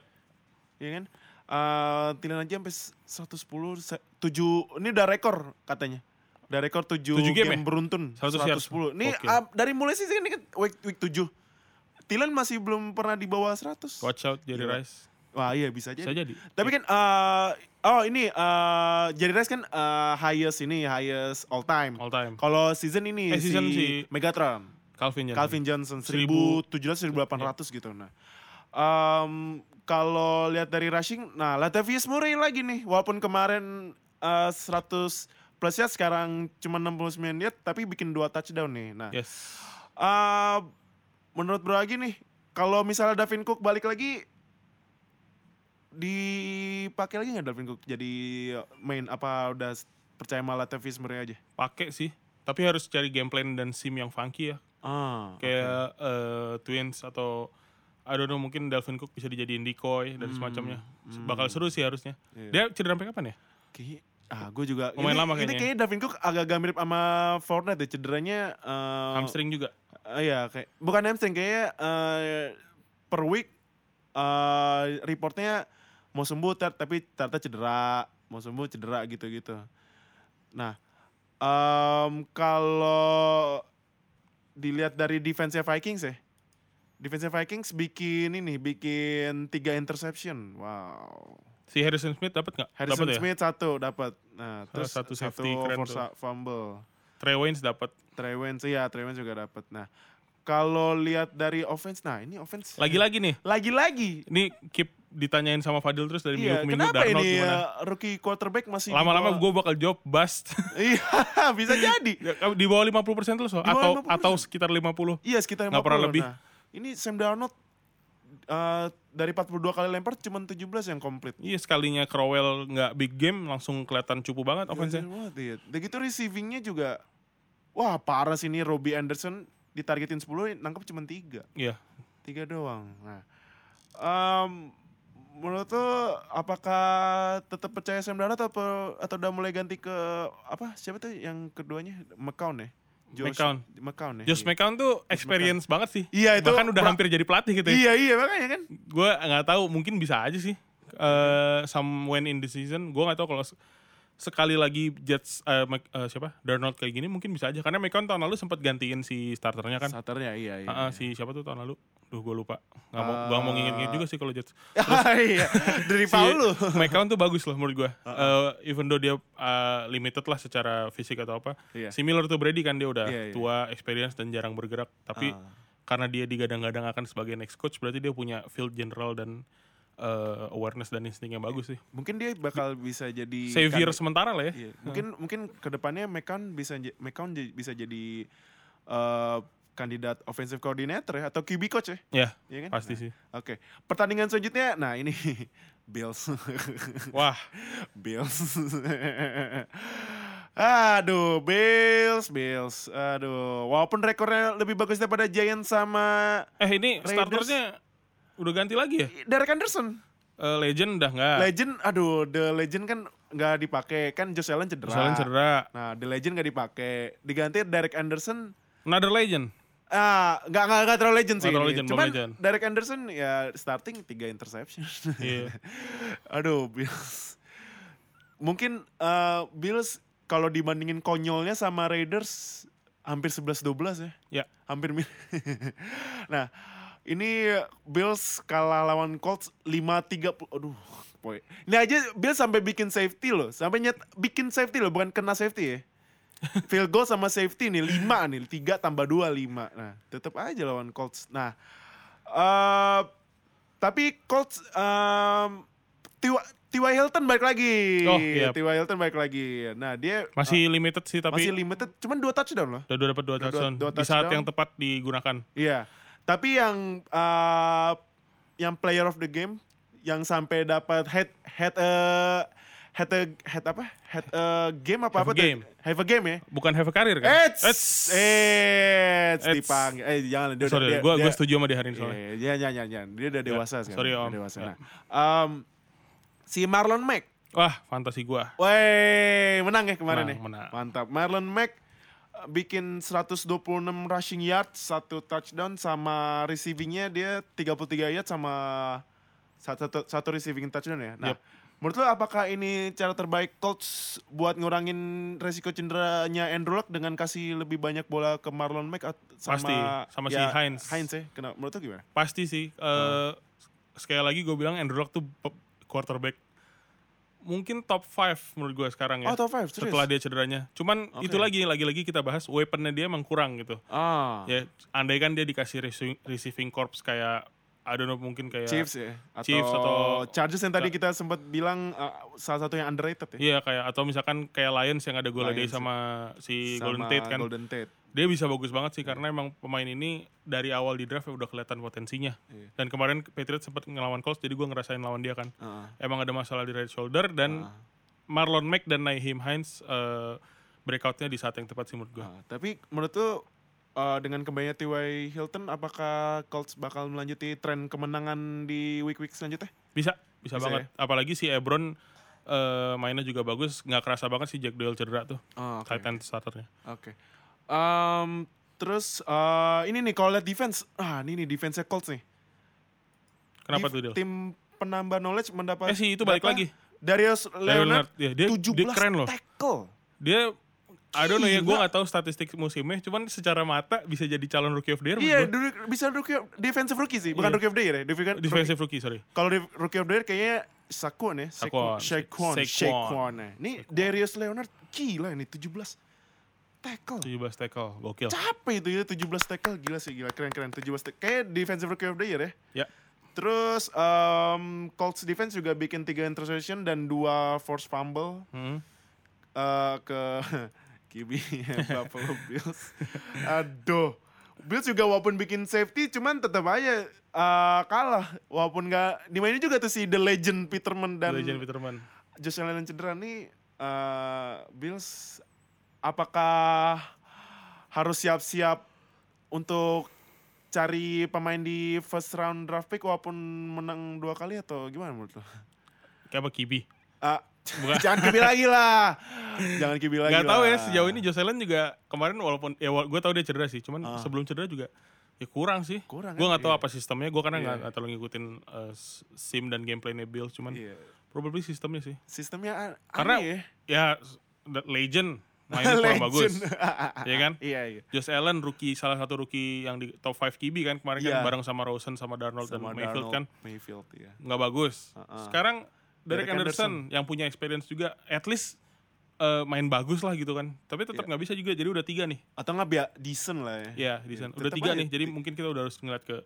ya kan? Eh Tilen aja sampai s- 110 se- 7 ini udah rekor katanya. Udah rekor 7,
7 game
game,
ya?
beruntun
100 yards.
110. Ini
Oke.
ah, dari mulai sih ini kan week, week 7. Tilen masih belum pernah di bawah 100.
Watch out Jerry
Gila.
Rice.
Wah iya bisa jadi.
Bisa jadi.
Tapi kan eh oh ini eh Jerry Rice kan eh, highest ini highest all time.
All time.
Kalau season ini
Eh, season
si,
si- Hmm.
Megatron,
Calvin Johnson.
Calvin Johnson
1000,
1700 1800
Iya.
gitu nah. Em, kalau lihat dari rushing, nah Latavius Murray lagi nih walaupun kemarin eh, 100 plus ya sekarang cuma 69 yard tapi bikin dua touchdown nih. Nah,
Yes.
Eh, menurut Bro Agi nih, kalau misalnya Davin Cook balik lagi dipakai lagi nggak Davin Cook jadi main apa udah s- percaya malah Tevis Murray aja?
Pakai sih. Tapi harus cari game plan dan sim yang funky ya.
Ah,
Kayak eh, Twins atau I don't know mungkin Dalvin Cook bisa dijadiin decoy
Hmm.
dan semacamnya. Bakal seru sih harusnya.
Iya.
Dia cedera sampai kapan ya?
Eh, Kayak- ah, gue juga.
Pemain
ini,
lama
Ini
kayaknya.
kayaknya Davin Cook agak-agak mirip sama Fortnite ya cederanya. eh,
Hamstring juga.
eh, iya, kayak bukan hamstring kayaknya eh, per week eh, reportnya mau sembuh ter- tapi ternyata cedera, mau sembuh cedera gitu-gitu. Nah, em, kalau dilihat dari defense-nya Vikings ya. Defense Vikings bikin ini, bikin tiga interception. Wow.
Si Harrison Smith dapat nggak?
Harrison
Dapat ya?
Smith satu dapat. Nah, terus
satu
satu,
safety keren
force
tuh.
fumble.
Trey Waynes dapat.
Trey Waynes ya, Trey Waynes juga dapat. Nah, kalau lihat dari offense, nah ini offense
Lagi-lagi nih.
lagi-lagi.
Ini keep ditanyain sama Fadil terus dari minggu
Iya,
ke minggu
kenapa
Darnold
ini
gimana.
ya, rookie quarterback masih di
Lama-lama
bawah-
gue bakal job
[LAUGHS]
bust.
Iya, bisa jadi.
Ya, di bawah 50% terus loh.
Di bawah
Atau, atau sekitar 50.
Iya, sekitar
Nggak pernah
50.
lebih.
Nah, ini Sam Darnold eh, dari 42 kali lempar cuma 17 yang komplit.
Iya sekalinya Crowell nggak big game langsung kelihatan cupu banget offense-nya.
Gokil banget, iya. Udah gitu receivingnya juga, wah parah sih ini Robbie Anderson ditargetin 10, nangkep cuma 3.
Iya.
tiga doang. Nah, em, menurut tuh apakah tetap percaya Sam Darnold atau atau udah mulai ganti ke apa siapa tuh yang keduanya McCown ya?
McCown.
McCown ya.
Josh
Iya.
McCown tuh experience banget sih.
Iya, itu
Bahkan udah
pra-
hampir jadi pelatih gitu.
Iya
Ya.
iya makanya kan.
Gue nggak tahu mungkin bisa aja sih. Eh somewhere in the season gue nggak tahu kalau se- sekali lagi Jets eh, Mc- eh, siapa Darnold kayak gini mungkin bisa aja karena McCown tahun lalu sempat gantiin si starternya kan.
Starternya iya iya.
Ah,
[LAUGHS] iya.
ah, si siapa tuh tahun lalu? Duh gue lupa. Nggak mau gak mau nginget-nginget juga sih kalau Jets.
Iya, dari
Si [LAUGHS]
Paulo.
McCown tuh bagus loh menurut gue. Eh, even though dia eh, limited lah secara fisik atau apa.
Iya.
Similar tuh Brady kan dia udah
Iya, Ah. iya.
tua, experience dan jarang bergerak. Tapi karena dia digadang-gadang akan sebagai next coach, berarti dia punya field general dan eh, awareness dan insting yang bagus sih.
Mungkin dia bakal bisa jadi
Savior
kan-
sementara lah
iya.
ya.
Mungkin mungkin kedepannya McCown bisa j- McCown j- bisa jadi eh, kandidat offensive coordinator ya, atau QB coach ya?
Ya,
Iya kan?
pasti
Nah,
sih.
Oke, pertandingan selanjutnya, nah ini [LAUGHS] Bills, [LAUGHS]
Wah,
Bills, [LAUGHS] aduh Bills, Bills, aduh, walaupun rekornya lebih bagus daripada Giants sama
eh ini
Raiders.
starternya udah ganti lagi ya?
Derek Anderson,
Eh, Legend udah nggak.
Legend, aduh, the Legend kan nggak dipakai, kan Josh Allen cedera,
Soalnya cedera.
nah the Legend nggak dipakai, diganti Derek Anderson,
Another
[LAUGHS]
Legend.
ah nggak nggak nggak terlalu legend sih,
Nggak terlalu
ini.
legend, belum
cuman
legend.
Derek Anderson ya starting tiga interception. [LAUGHS]
Iya.
Aduh, Bills. Mungkin eh, Bills kalau dibandingin konyolnya sama Raiders hampir 11-12 ya.
Ya.
Hampir mir- [LAUGHS] Nah, ini Bills kalah lawan Colts 5-30. Aduh, boy. Ini aja Bills sampai bikin safety loh. Sampai nyet bikin safety loh, bukan kena
[LAUGHS]
safety ya. Field goal sama safety nih 5 nih, 3 tambah 2 5. Nah, tetap aja lawan Colts. Nah, eh tapi Colts em Tiwa- T.Y. Hilton balik lagi.
Oh, iya.
T.Y. Hilton balik lagi. Nah, dia
Masih limited sih tapi
masih limited, cuman dua touchdown loh.
udah dapat dua
Udah dua-
touchdown
dua
di saat
touchdown.
yang tepat digunakan.
Iya. Tapi yang eh, yang player of the game yang sampai dapat head head eh, head eh, head apa? Head eh, game apa
Have
apa
a
tuh?
game.
Have a game ya.
Bukan have a career kan?
Eits,
Eits.
eits,
Eits.
dipanggil. Eh jangan, dia,
Sorry,
dia-
gue
dia-
gue setuju sama dia hari ini soalnya.
Iya, jangan, jangan, jangan, jangan. Dia udah dewasa sekarang.
sorry,
udah
Om.
Dewasa.
Ya.
Nah, em, si Marlon Mack
Wah, fantasi gue.
Woi, menang ya kemarin
Menang,
ya.
menang.
Mantap. Marlon Mack uh, bikin 126 rushing yard, satu touchdown sama receivingnya dia 33 yard sama satu, satu, satu receiving touchdown ya. Nah,
Yep.
menurut lo apakah ini cara terbaik Colts buat ngurangin resiko cenderanya Andrew Luck dengan kasih lebih banyak bola ke Marlon Mack at- sama ya?
Pasti, sama si Hines.
Hines ya. Kena, menurut lo gimana?
Pasti sih. eh sekali lagi gue bilang Andrew Luck tuh pe- quarterback mungkin top 5 menurut gue sekarang
Oh,
ya.
top five, serius?
Setelah dia cederanya. Cuman itu lagi lagi-lagi kita bahas weaponnya dia emang kurang gitu.
Ah,
Ya andai kan dia dikasih receiving, receiving corps kayak I don't know mungkin kayak
Chiefs ya atau,
Iya. Chiefs atau-
Chargers yang tadi kita sempat bilang eh, salah satu yang underrated ya.
Iya kayak atau misalkan kayak Lions yang ada Golladay
Lions.
sama si
Sama
Golden Tate kan.
Golden Tate.
Dia bisa bagus banget sih karena emang pemain ini dari awal di draft ya udah kelihatan potensinya.
Iya.
Dan kemarin Patriots sempat ngelawan Colts jadi gua ngerasain lawan dia kan.
Ah,
Emang ada masalah di right shoulder dan
ah,
Marlon Mack dan Naheem Hines eh, breakoutnya di saat yang tepat sih menurut gue.
ah. Tapi menurut tuh eh, dengan kembalinya T.Y. Hilton, apakah Colts bakal melanjuti tren kemenangan di week-week selanjutnya?
Bisa, bisa,
Bisa ya?
banget. Apalagi si Ebron eh, mainnya juga bagus, nggak kerasa banget si Jack Doyle cedera tuh.
Oh, oke.
Titan starternya.
Oke. Em, terus eh, ini nih kalau lihat defense, ah ini nih defense-nya Colts nih.
Kenapa
Dif-
tuh Dil?
Tim penambah knowledge mendapat
Eh si itu balik
berapa?
lagi.
Darius Leonard,
Leonard, ya, dia,
17
dia keren loh.
tackle.
Dia I don't know ya, gue
Gila.
gak tahu statistik musimnya, cuman secara mata bisa jadi calon rookie of the year.
Iya,
menurut gua.
dulu- bisa rookie of- defensive rookie sih, bukan
Iya.
rookie of the year ya. Defensive,
defensive rookie, sorry.
Kalau di- rookie of the year kayaknya Saquon ya, Saquon,
Saquon.
Saquon,
Saquon.
Saquon. ya. Ini Darius Leonard gila ini 17 tackle.
17 tackle, gokil.
Capek itu ya 17 tackle gila sih, gila keren-keren 17 tackle. Kayak defensive rookie of the year ya.
Ya,
Terus em, Colts defense juga bikin 3 interception dan 2 force fumble
hmm.
eh, ke [LAUGHS] QB [LAUGHS] Buffalo
[LAUGHS]
Bills. Aduh. Bills juga walaupun bikin safety cuman tetap aja eh, kalah walaupun nggak dimainin juga tuh si The Legend Peterman dan
Legend Peterman.
Josh Allen cedera nih eh, Bills apakah harus siap-siap untuk cari pemain di first round draft pick walaupun menang dua kali atau gimana menurut lo? [LAUGHS]
Kayak apa, Kibi?
Ah, [LAUGHS] jangan kibi lagi lah. Jangan kibi lagi.
Gak tahu ya
lah.
sejauh ini Joselen juga kemarin walaupun ya gue tahu dia cedera sih, cuman sebelum cedera juga ya kurang sih.
Ah. Kurang
Gue
kan,
nggak tahu
iya.
apa sistemnya. Gue karena
Iya.
nggak nggak terlalu ngikutin eh, s- sim dan gameplaynya Bill, cuman
Iya.
probably sistemnya sih.
Sistemnya an- aneh
Kan Karena
ya.
ya s- the- legend
[LAUGHS]
mainnya kurang bagus, ya kan?
iya, iya.
Josh Allen rookie salah satu rookie yang di top 5 QB kan kemarin
Iya.
kan bareng sama Rosen sama Darnold
Sama
dan Mayfield
Darnold,
kan
Mayfield ya.
nggak bagus.
Uh-uh.
Sekarang Derek,
Derek
Anderson, yang punya experience juga at least eh, main bagus lah gitu kan. Tapi tetap nggak bisa juga jadi udah tiga nih.
Atau nggak biar decent lah ya.
Iya, di
Iya.
sana.
Iya,
Udah
tetep
tiga
aja. Iya.
nih, jadi mungkin kita udah harus ngeliat ke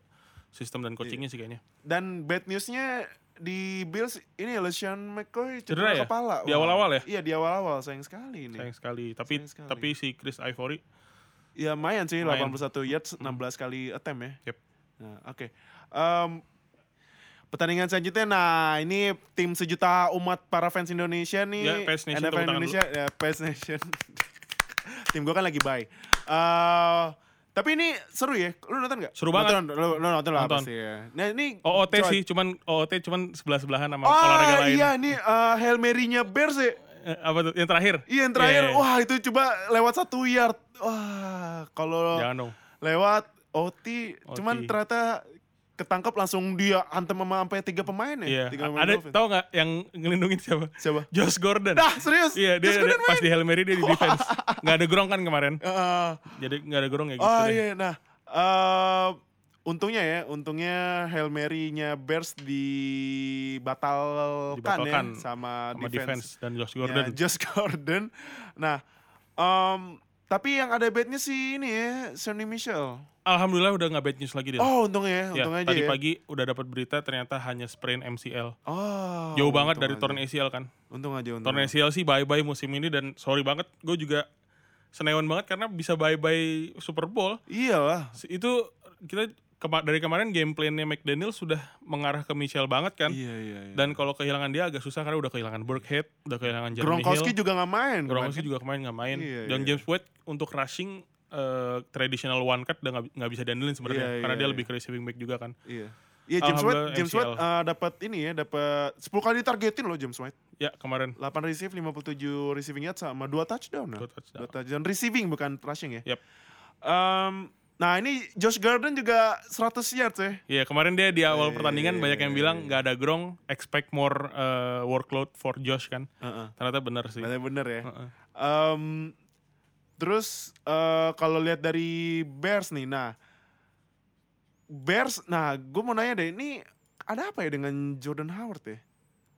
sistem dan coachingnya sih kayaknya.
Dan bad newsnya di Bills ini LeSean McCoy cedera,
Cedera ya?
kepala.
Di
Wah.
awal-awal ya?
Iya di awal-awal sayang sekali ini.
Sayang sekali. Tapi
Iya. Sayang sekali.
tapi si Chris Ivory,
Ya lumayan sih
Lumayan.
81 yards 16 kali attempt ya.
Yep.
Nah, oke. Em, pertandingan selanjutnya nah ini tim sejuta umat para fans Indonesia
Ya,
nih.
Fans Nation, tepuk
NFL
tangan
Indonesia ya Fans Nation. [LAUGHS] tim gue kan lagi bye. Eh, tapi ini seru ya. Lu nonton gak?
Seru banget.
Nonton, lu, lu nonton lah
Nonton.
pasti ya. Nah, ini
OOT
coy.
sih, cuman OOT cuman sebelah sebelahan sama olahraga
Oh
lain.
iya ini eh, Hail Mary-nya Bears ya.
Eh, apa tuh? Yang terakhir?
Iya yang terakhir,
Iya, iya.
wah itu coba lewat satu yard. Wah kalau
Jangan dong.
lewat OT, cuman
OT.
ternyata ketangkap langsung dia antem sama sampai tiga pemain
Iya.
ya. Tiga pemain
Ada
Dolphins.
tau nggak yang ngelindungin siapa?
siapa?
Josh Gordon.
Dah serius?
Iya, dia,
Terus
dia-
Gordon
pas
main.
di Hail Mary dia di defense. Nggak ada gerong kan kemarin.
Heeh.
Jadi nggak ada gerong ya gitu
oh
deh.
iya, nah eh, untungnya ya, untungnya Hail Mary-nya Bears dibatalkan,
Dibatalkan
ya sama,
Sama
defense.
defense dan Josh
Ya,
Gordon.
Josh Gordon. Nah, em, tapi yang ada bednya sih ini ya, Sonny Michel.
Alhamdulillah udah nggak bad news lagi dia.
Oh, untungnya ya,
Ya,
untung aja
tadi
ya.
pagi udah dapat berita ternyata hanya sprain MCL.
Oh,
Jauh banget
untung aja.
dari
Hmm.
torn ACL kan.
Untung aja, untung.
Torn
aja.
ACL sih bye-bye musim ini dan sorry banget gue juga senewan banget karena bisa bye-bye Super Bowl.
Iyalah.
Se- Itu kita kema- dari kemarin gameplaynya McDaniel sudah mengarah ke Michel banget kan.
Iya, iya, iya.
Dan kalau kehilangan dia agak susah karena udah kehilangan Burkhead, udah kehilangan Jeremy
Gronkowski
Hill.
juga nggak main. kan?
Gronkowski
kemarin.
juga kemarin nggak main.
Iya,
dan
iya.
James White untuk rushing eh, traditional one cut udah nggak bi- nggak bisa diandelin sebenarnya
Iya,
karena
iya,
dia
iya.
lebih ke receiving back juga kan.
Iya. Iya James White,
Alhamdulillah
James
MCL.
White eh, dapat ini ya, dapat 10 kali targetin loh James White.
Ya kemarin
8 receive, 57 receiving yard sama 2 touchdown. Nah.
Dua touchdown.
Dua touchdown receiving bukan rushing ya.
Yap.
Em, nah ini Josh Gordon juga 100 yards ya.
Iya kemarin dia di awal pertandingan
Eh.
banyak yang bilang nggak ada grong, expect more uh, workload for Josh kan.
Heeh.
Ternyata bener sih.
Bener ya.
Heeh.
Em, terus eh, kalau lihat dari Bears nih, nah Bears, nah gue mau nanya deh, ini ada apa ya dengan Jordan Howard ya?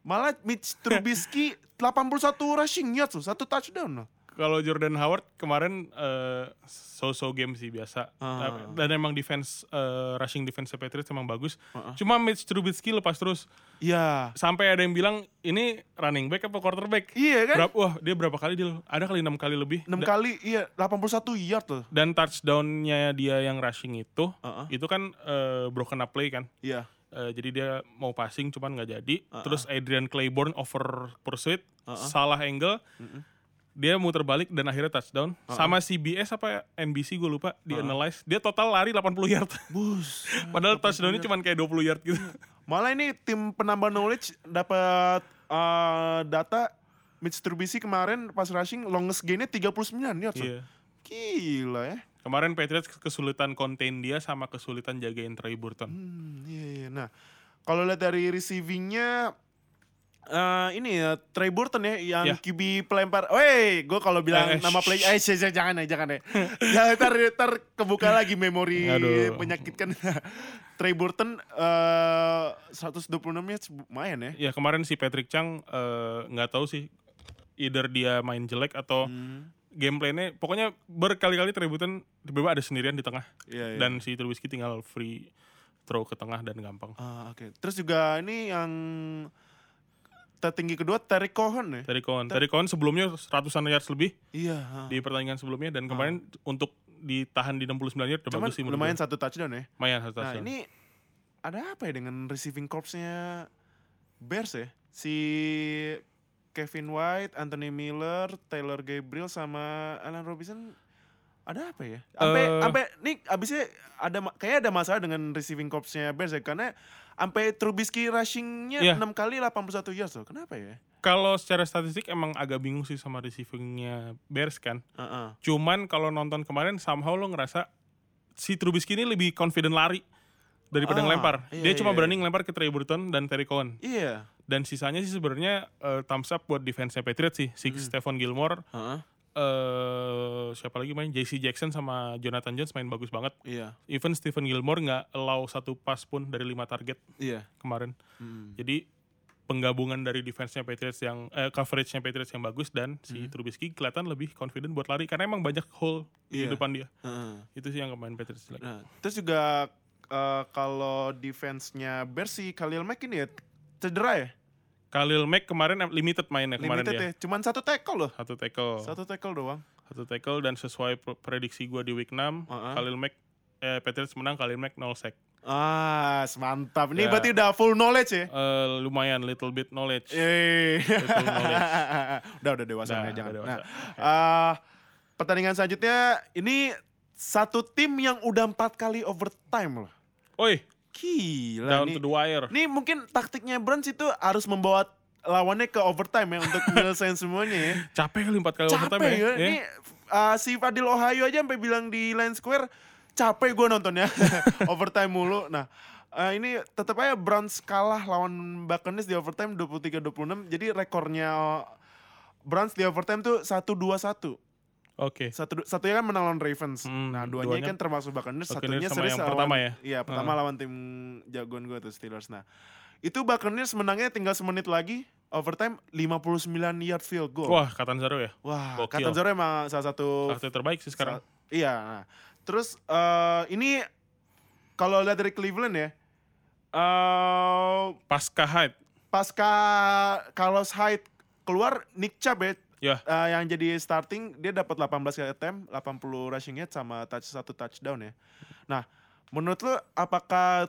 Malah Mitch
[LAUGHS]
Trubisky 81 rushing yards loh, satu touchdown loh.
Kalau Jordan Howard kemarin eh, so-so game sih biasa.
Ah.
Tapi- Dan emang defense eh, rushing defense Patriots emang bagus.
Ah, ah.
Cuma Mitch Trubisky lepas terus
Iya.
sampai ada yang bilang ini running back apa quarterback?
Iya kan?
Berapa, wah, dia berapa kali dia? Ada kali enam kali lebih.
6
Da-
kali iya 81 yard loh.
Dan touchdownnya dia yang rushing itu,
Ah, ah.
itu kan eh, broken up play kan.
Iya.
Eh, jadi dia mau passing cuman nggak jadi. Terus Adrian Claiborne over pursuit, salah angle. Dia muter balik dan akhirnya touchdown. Sama CBS apa NBC gue lupa, di analyze. Dia total lari 80 yard. [LAUGHS]
Bus.
Padahal touchdownnya cuman kayak 20 yard gitu.
Malah ini tim penambah knowledge dapat eh, data Mitch Trubisky kemarin pas rushing longest gainnya 39 yards. loh.
Iya.
Gila ya.
Kemarin Patriots kesulitan contain dia sama kesulitan jagain Trey Burton.
Hmm, iya, iya. Nah, kalau lihat dari receivingnya eh ini ya Trey Burton ya yang
Ya.
QB pelempar. Woi, gue kalau bilang
Eh, eh,
nama play, eh sih, sih, jangan ya, jangan ya. ya ntar, ntar kebuka lagi memori
Aduh.
menyakitkan. [LAUGHS] Trey Burton eh 126 yards lumayan ya.
Ya kemarin si Patrick Chang eh, nggak tahu sih either dia main jelek atau
Hmm,
gameplaynya pokoknya berkali-kali Trey Burton tiba-tiba ada sendirian di tengah
iya, iya.
dan si Trubisky tinggal free throw ke tengah dan gampang.
Ah, oke. Terus juga ini yang tertinggi kedua Terry Cohen ya.
Terry Cohen, Terry Cohen sebelumnya ratusan yards lebih
Iya. ah.
di pertandingan sebelumnya dan kemarin untuk ditahan di 69 yard udah
Cuman
bagus sih menurut
lumayan
gue.
satu touchdown ya.
lumayan
Nah
satu touchdown.
ini ada apa ya dengan receiving corpsnya Bears ya? Si Kevin White, Anthony Miller, Taylor Gabriel sama Alan Robinson ada apa ya? Sampai
Eh.
sampai nih abisnya ada ma- kayaknya ada masalah dengan receiving corpsnya Bears ya karena sampai Trubisky rushingnya
Iya.
6 kali 81 yards loh. Kenapa ya?
Kalau secara statistik emang agak bingung sih sama receivingnya Bears kan.
Heeh.
Cuman kalau nonton kemarin somehow lo ngerasa si Trubisky ini lebih confident lari daripada
Ah,
ngelempar.
iya,
Dia cuma
iya,
berani ngelempar ke Trey Burton dan Terry Cohen.
Iya.
Dan sisanya sih sebenarnya eh, thumbs up buat defense Patriots sih. Si
Hmm.
Stephon Gilmore,
Heeh.
eh siapa lagi main? JC Jackson sama Jonathan Jones main bagus banget.
Iya.
Even Stephen Gilmore nggak allow satu pass pun dari lima target
Iya.
kemarin.
Hmm.
Jadi penggabungan dari defense-nya Patriots yang eh, coverage-nya Patriots yang bagus dan si
Hmm.
Trubisky kelihatan lebih confident buat lari karena emang banyak hole di
Iya.
depan dia.
Heeh.
Itu sih yang kemarin Patriots jelek.
Nah, terus juga eh, kalau defense-nya Bears si Khalil Mack ini ya cedera ya?
Khalil Mack kemarin em- limited mainnya kemarin
Limited
dia. Oh.
ya. Cuman satu tackle loh.
Satu tackle, satu,
Satu tackle doang.
tackle dan sesuai pro- prediksi gua di week 6,
Uh-uh.
Khalil Mack eh, Patriots menang Khalil Mack 0 sack.
Ah, mantap. Ini
Ya.
berarti udah full knowledge ya?
Eh, lumayan little bit knowledge.
Eh.
Full knowledge.
[LAUGHS] udah udah dewasa
Udah,
ya, jangan.
udah
Nah,
dewasa.
eh, pertandingan selanjutnya ini satu tim yang udah empat kali overtime loh.
Oi,
Gila
down
Nah, ini.
to the wire.
Ini mungkin taktiknya Browns itu harus membawa lawannya ke overtime ya
[LAUGHS]
untuk nyelesain semuanya ya.
Capek kali 4 kali overtime
capek ya.
ya.
Ini uh, si Fadil Ohio aja sampai bilang di Line Square capek gue nontonnya [LAUGHS] overtime mulu. Nah uh, ini tetap aja Browns kalah lawan Buccaneers di overtime 23-26. Jadi rekornya eh, Browns di overtime tuh 1-2-1.
Oke.
Satu satunya kan menang lawan Ravens.
Hmm,
nah, duanya,
duanya-
kan termasuk Buccaneers, satunya
Buccaneers sama
series
yang
lawan-
pertama ya?
Iya, pertama lawan tim jagoan gue tuh Steelers. Nah, itu Buccaneers menangnya tinggal semenit lagi overtime 59 yard field goal.
Wah, Catanzaro ya.
Wah,
Gokil.
Catanzaro emang salah satu
Satu terbaik sih
Oh.
sekarang.
sa- iya. nah. Terus eh, ini kalau lihat dari Cleveland ya, eh
Pasca Hyde.
pasca Carlos Hyde keluar, Nick Chubb ya,
Ya,
eh, yang jadi starting dia dapat 18 kali attempt, 80 rushing yards sama touch satu touchdown ya. Nah, menurut lu apakah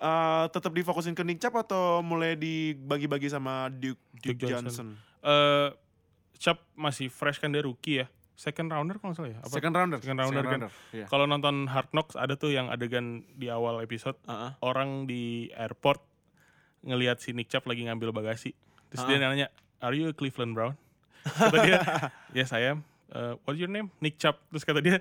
eh, tetap difokusin ke Nick Chubb atau mulai dibagi-bagi sama Duke, Duke,
Duke
Johnson?
Johnson. eh Cap masih fresh kan dia rookie ya. Second rounder kalau nggak salah ya. Apa?
Second rounder.
Second rounder kan.
Iya.
Kalau nonton Hard Knocks ada tuh yang adegan di awal episode
Uh-uh.
orang di airport ngelihat si Nick Cap lagi ngambil bagasi. Terus
Ah.
dia nanya, "Are you a Cleveland Brown?" Kata
[LAUGHS]
dia, "Yes, I am." "Uh, what's your name? Nick Cap. Terus kata dia,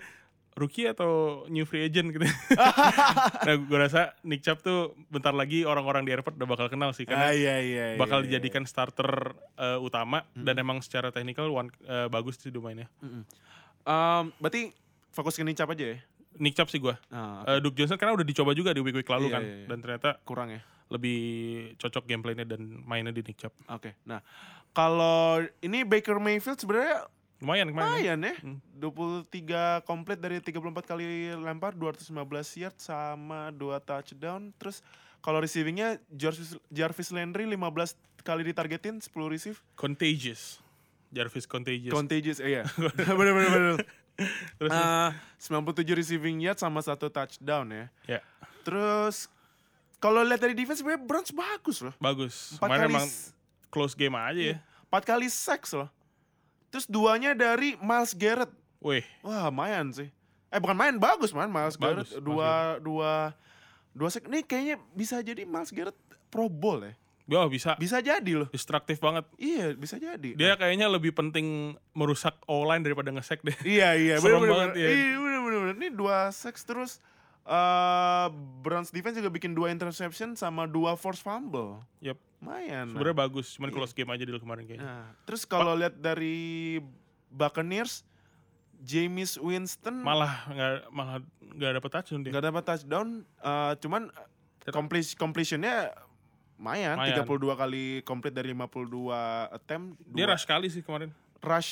"Rookie atau new free
[LAUGHS]
agent?" gitu. nah, gue rasa Nick Cap tuh bentar lagi orang-orang di airport udah bakal kenal sih
Ah,
karena
iya, iya, iya,
bakal
iya, iya. Hmm.
dijadikan starter eh, utama dan emang secara teknikal one- eh, bagus sih domainnya.
Um, berarti fokus ke nincap aja ya?
Nick Chubb sih gua. Uh,
Ah,
Eh, Duke Johnson karena udah dicoba juga di week-week lalu
Iya,
kan
iya, iya.
dan ternyata
kurang ya?
lebih cocok gameplaynya dan mainnya di Nick Chubb.
Oke. Nah, kalau ini Baker Mayfield sebenarnya
Lumayan kemarin. ya.
lumayan ya.
Hmm.
23 komplit dari 34 kali lempar, 215 yard sama 2 touchdown. Terus kalau receivingnya Jarvis, Jarvis Landry 15 kali ditargetin, 10 receive.
Contagious. Jarvis Contagious.
Contagious, [LAUGHS] eh, iya. bener, bener, bener.
Terus
Eh, 97 receiving yard sama satu touchdown ya.
ya,
Terus kalau lihat dari defense sebenarnya Browns bagus loh.
bagus.
Empat
Kemarin
kali Iya.
emang close game aja ya.
Empat kali seks loh. Terus duanya dari Miles Garrett.
Weh,
Wah, main sih. Eh bukan main, bagus man Miles Garrett.
Bagus, Miles
Dua, dua, dua sek. Nih kayaknya bisa jadi Miles Garrett Pro Bowl ya.
wah bisa.
Bisa jadi loh.
Destruktif banget.
Iya, bisa jadi.
Dia kayaknya lebih penting merusak O-line daripada ngesek
[LAUGHS]
deh.
Iya, iya.
Serem
bener-bener.
banget, ya.
Iya, bener-bener. Ini dua seks terus. eh Browns defense juga bikin dua interception sama dua force fumble.
Yep.
Lumayan. man.
Sebenarnya bagus, cuman close game aja dulu kemarin kayaknya.
Iya. Nah, terus kalau lihat dari Buccaneers, James Winston
Malah nggak malah nggak dapet touchdown dia.
nggak dapat touchdown, eh, cuman completion completionnya lumayan,
Lumayan.
32 kali complete dari 52 attempt.
Dia
dua
rush sekali sih kemarin.
rush.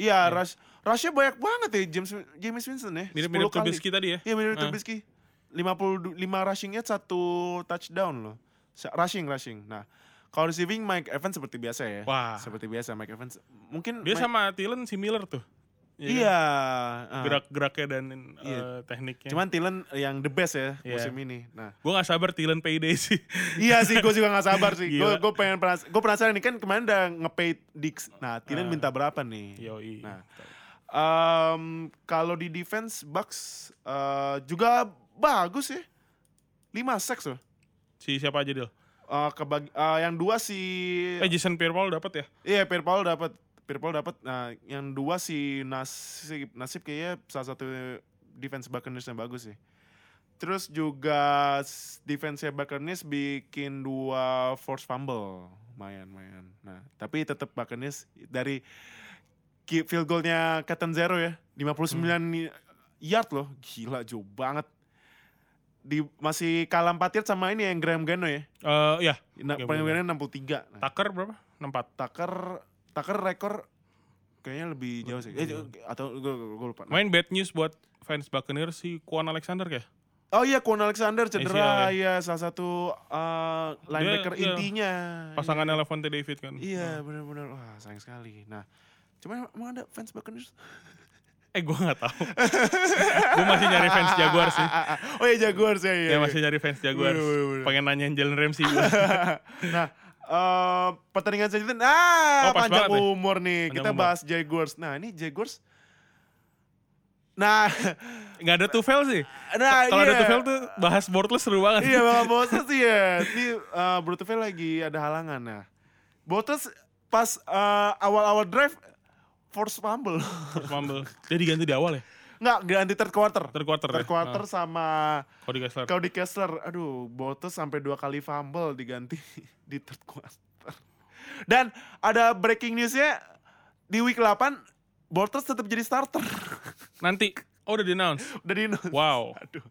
Iya, rush. Rushnya banyak banget ya James James Winston ya.
Mirip-mirip
10 kali.
Trubisky tadi ya.
Iya, mirip
Ah.
Trubisky. 55 rushingnya satu touchdown loh. Sa- Rushing, rushing. Nah, kalau receiving Mike Evans seperti biasa ya.
Wah.
Seperti biasa Mike Evans. Mungkin
Dia
Mike-
sama Thielen similar tuh. Iya kan?
Iya. ah.
Gerak-geraknya dan eh,
Iya.
tekniknya.
Cuman Tilen yang the best ya
Iya.
musim ini. Nah,
gue gak sabar Thielen payday [LAUGHS] sih.
iya sih, gue juga gak sabar sih. Gue
Gila.
gue pengen penas, gue penasaran nih kan kemarin udah ngepay Dix. Nah, Tilen
Ah.
minta berapa nih?
Yoi.
Nah, Em, kalau di defense Bucks eh, juga bagus ya. 5 seks loh.
Si siapa aja Dil?
Eh, kebagi- eh, yang dua si
Eh Jason Pierre-Paul dapat ya?
iya Pierre Paul dapat Pierre Paul dapat nah yang dua si nasib nasib kayaknya salah satu defense Buccaneers yang bagus sih terus juga s- defense Buccaneers bikin dua force fumble lumayan lumayan nah tapi tetap Buccaneers dari ki- field goalnya Captain Zero ya 59 ni- yard loh gila jauh banget di masih kalah 4 yard sama ini yang Graham Gano ya
Eh ya,
Nah,
Graham
Graham Gano 63 nah.
Tucker berapa? 64.
Tucker Tucker rekor kayaknya lebih jauh sih. Eh, atau gue, lupa.
Main bad news buat fans Buccaneers si Quan Alexander ya? kayak.
Oh iya, Kwon
Eh,
Alexander cedera,
ACL,
iya salah satu uh, linebacker
iya.
intinya.
Pasangan Elefante David kan.
Iya, benar-benar wah sayang sekali. Nah, cuman emang ada fans Buccaneers?
Eh gue gak
[LAUGHS]
tahu. gue masih nyari fans Jaguar sih.
Ah, ah, oh iya Jaguars ya. Iya,
Ya
iya.
masih nyari fans Jaguar.
Bener, bener, bener.
Pengen nanyain Jalen Ramsey gua.
[LAUGHS] nah, eh pertandingan selanjutnya ah
Oh, pas
panjang
banget nih.
umur nih.
Panjang
Kita
umur.
bahas Jaguars. Nah, ini Jaguars Nah, [LAUGHS]
Gak ada Tufel sih.
nah
Kalau ada
iya.
Tufel tuh bahas Bortles seru banget. [LAUGHS]
iya bakal bosen sih ya. Ini uh, Brutovia lagi ada halangan nah. Botes pas uh, awal-awal drive force fumble. [LAUGHS]
Terus Mumble. Dia diganti di awal ya?
Nggak, ganti third quarter.
Third quarter
Third
ya?
quarter sama
Ah, Cody Kessler.
Cody Kessler. Aduh, Botes sampai dua kali fumble diganti [LAUGHS] di third quarter. Dan ada breaking newsnya di week 8 Bortles tetap jadi starter. [LAUGHS]
Nanti. Oh udah di announce.
Udah di
Wow.
Aduh.